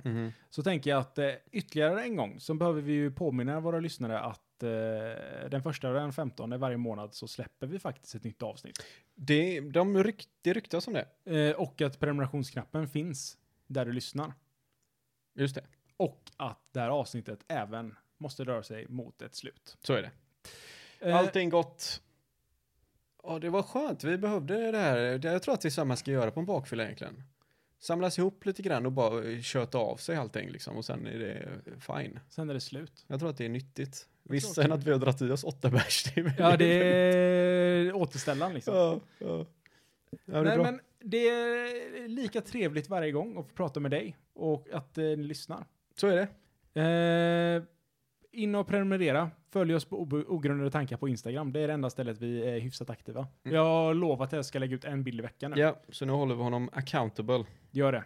Speaker 1: Så tänker jag att eh, ytterligare en gång så behöver vi ju påminna våra lyssnare att eh, den första och den femtonde varje månad så släpper vi faktiskt ett nytt avsnitt.
Speaker 3: Det, de ryk, det ryktas om det.
Speaker 1: Eh, och att prenumerationsknappen finns där du lyssnar.
Speaker 3: Just det,
Speaker 1: Och att det här avsnittet även måste röra sig mot ett slut.
Speaker 3: så är det.
Speaker 1: Eh,
Speaker 3: Allting gott. Ja, det var skönt. Vi behövde det här. Det- Jag tror att det är så man ska göra på en bakfylla egentligen. Samlas ihop lite grann och bara eh, köta av sig allting liksom och sen är det eh, fine.
Speaker 1: Sen är det
Speaker 3: (laughs)
Speaker 1: slut.
Speaker 3: Jag tror att det är nyttigt. Visst,
Speaker 1: tror
Speaker 3: sen att vi har dragit i oss åtta bärs, det är väl-
Speaker 1: Ja, det är återställaren liksom.
Speaker 3: Ja, ja. Ja, det är
Speaker 1: Nej,
Speaker 3: bra.
Speaker 1: men det är lika trevligt varje gång att få prata med dig och att eh, ni lyssnar.
Speaker 3: Så är det.
Speaker 1: Eh, in och prenumerera. Följ oss på ob- ogrundade tankar på Instagram. Det är det enda stället vi är hyfsat aktiva.
Speaker 3: Mm.
Speaker 1: Jag har lovat att jag ska lägga ut en bild i veckan nu.
Speaker 3: Ja, så nu håller vi honom accountable.
Speaker 1: Gör det.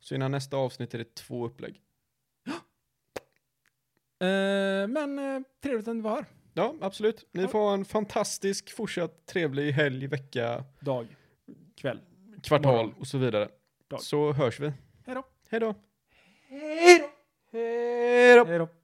Speaker 3: Så innan nästa avsnitt är det två upplägg.
Speaker 1: Eh, men eh, trevligt att ni var här.
Speaker 3: Ja, absolut. Ni får ha en fantastisk, fortsatt trevlig helg, vecka,
Speaker 1: Dag, kväll.
Speaker 3: kvartal
Speaker 1: Morgon.
Speaker 3: och så vidare.
Speaker 1: Dag.
Speaker 3: Så hörs vi.
Speaker 1: Hej då.
Speaker 3: Hej då.
Speaker 1: Hej då.
Speaker 3: Hej då.
Speaker 1: Hej då.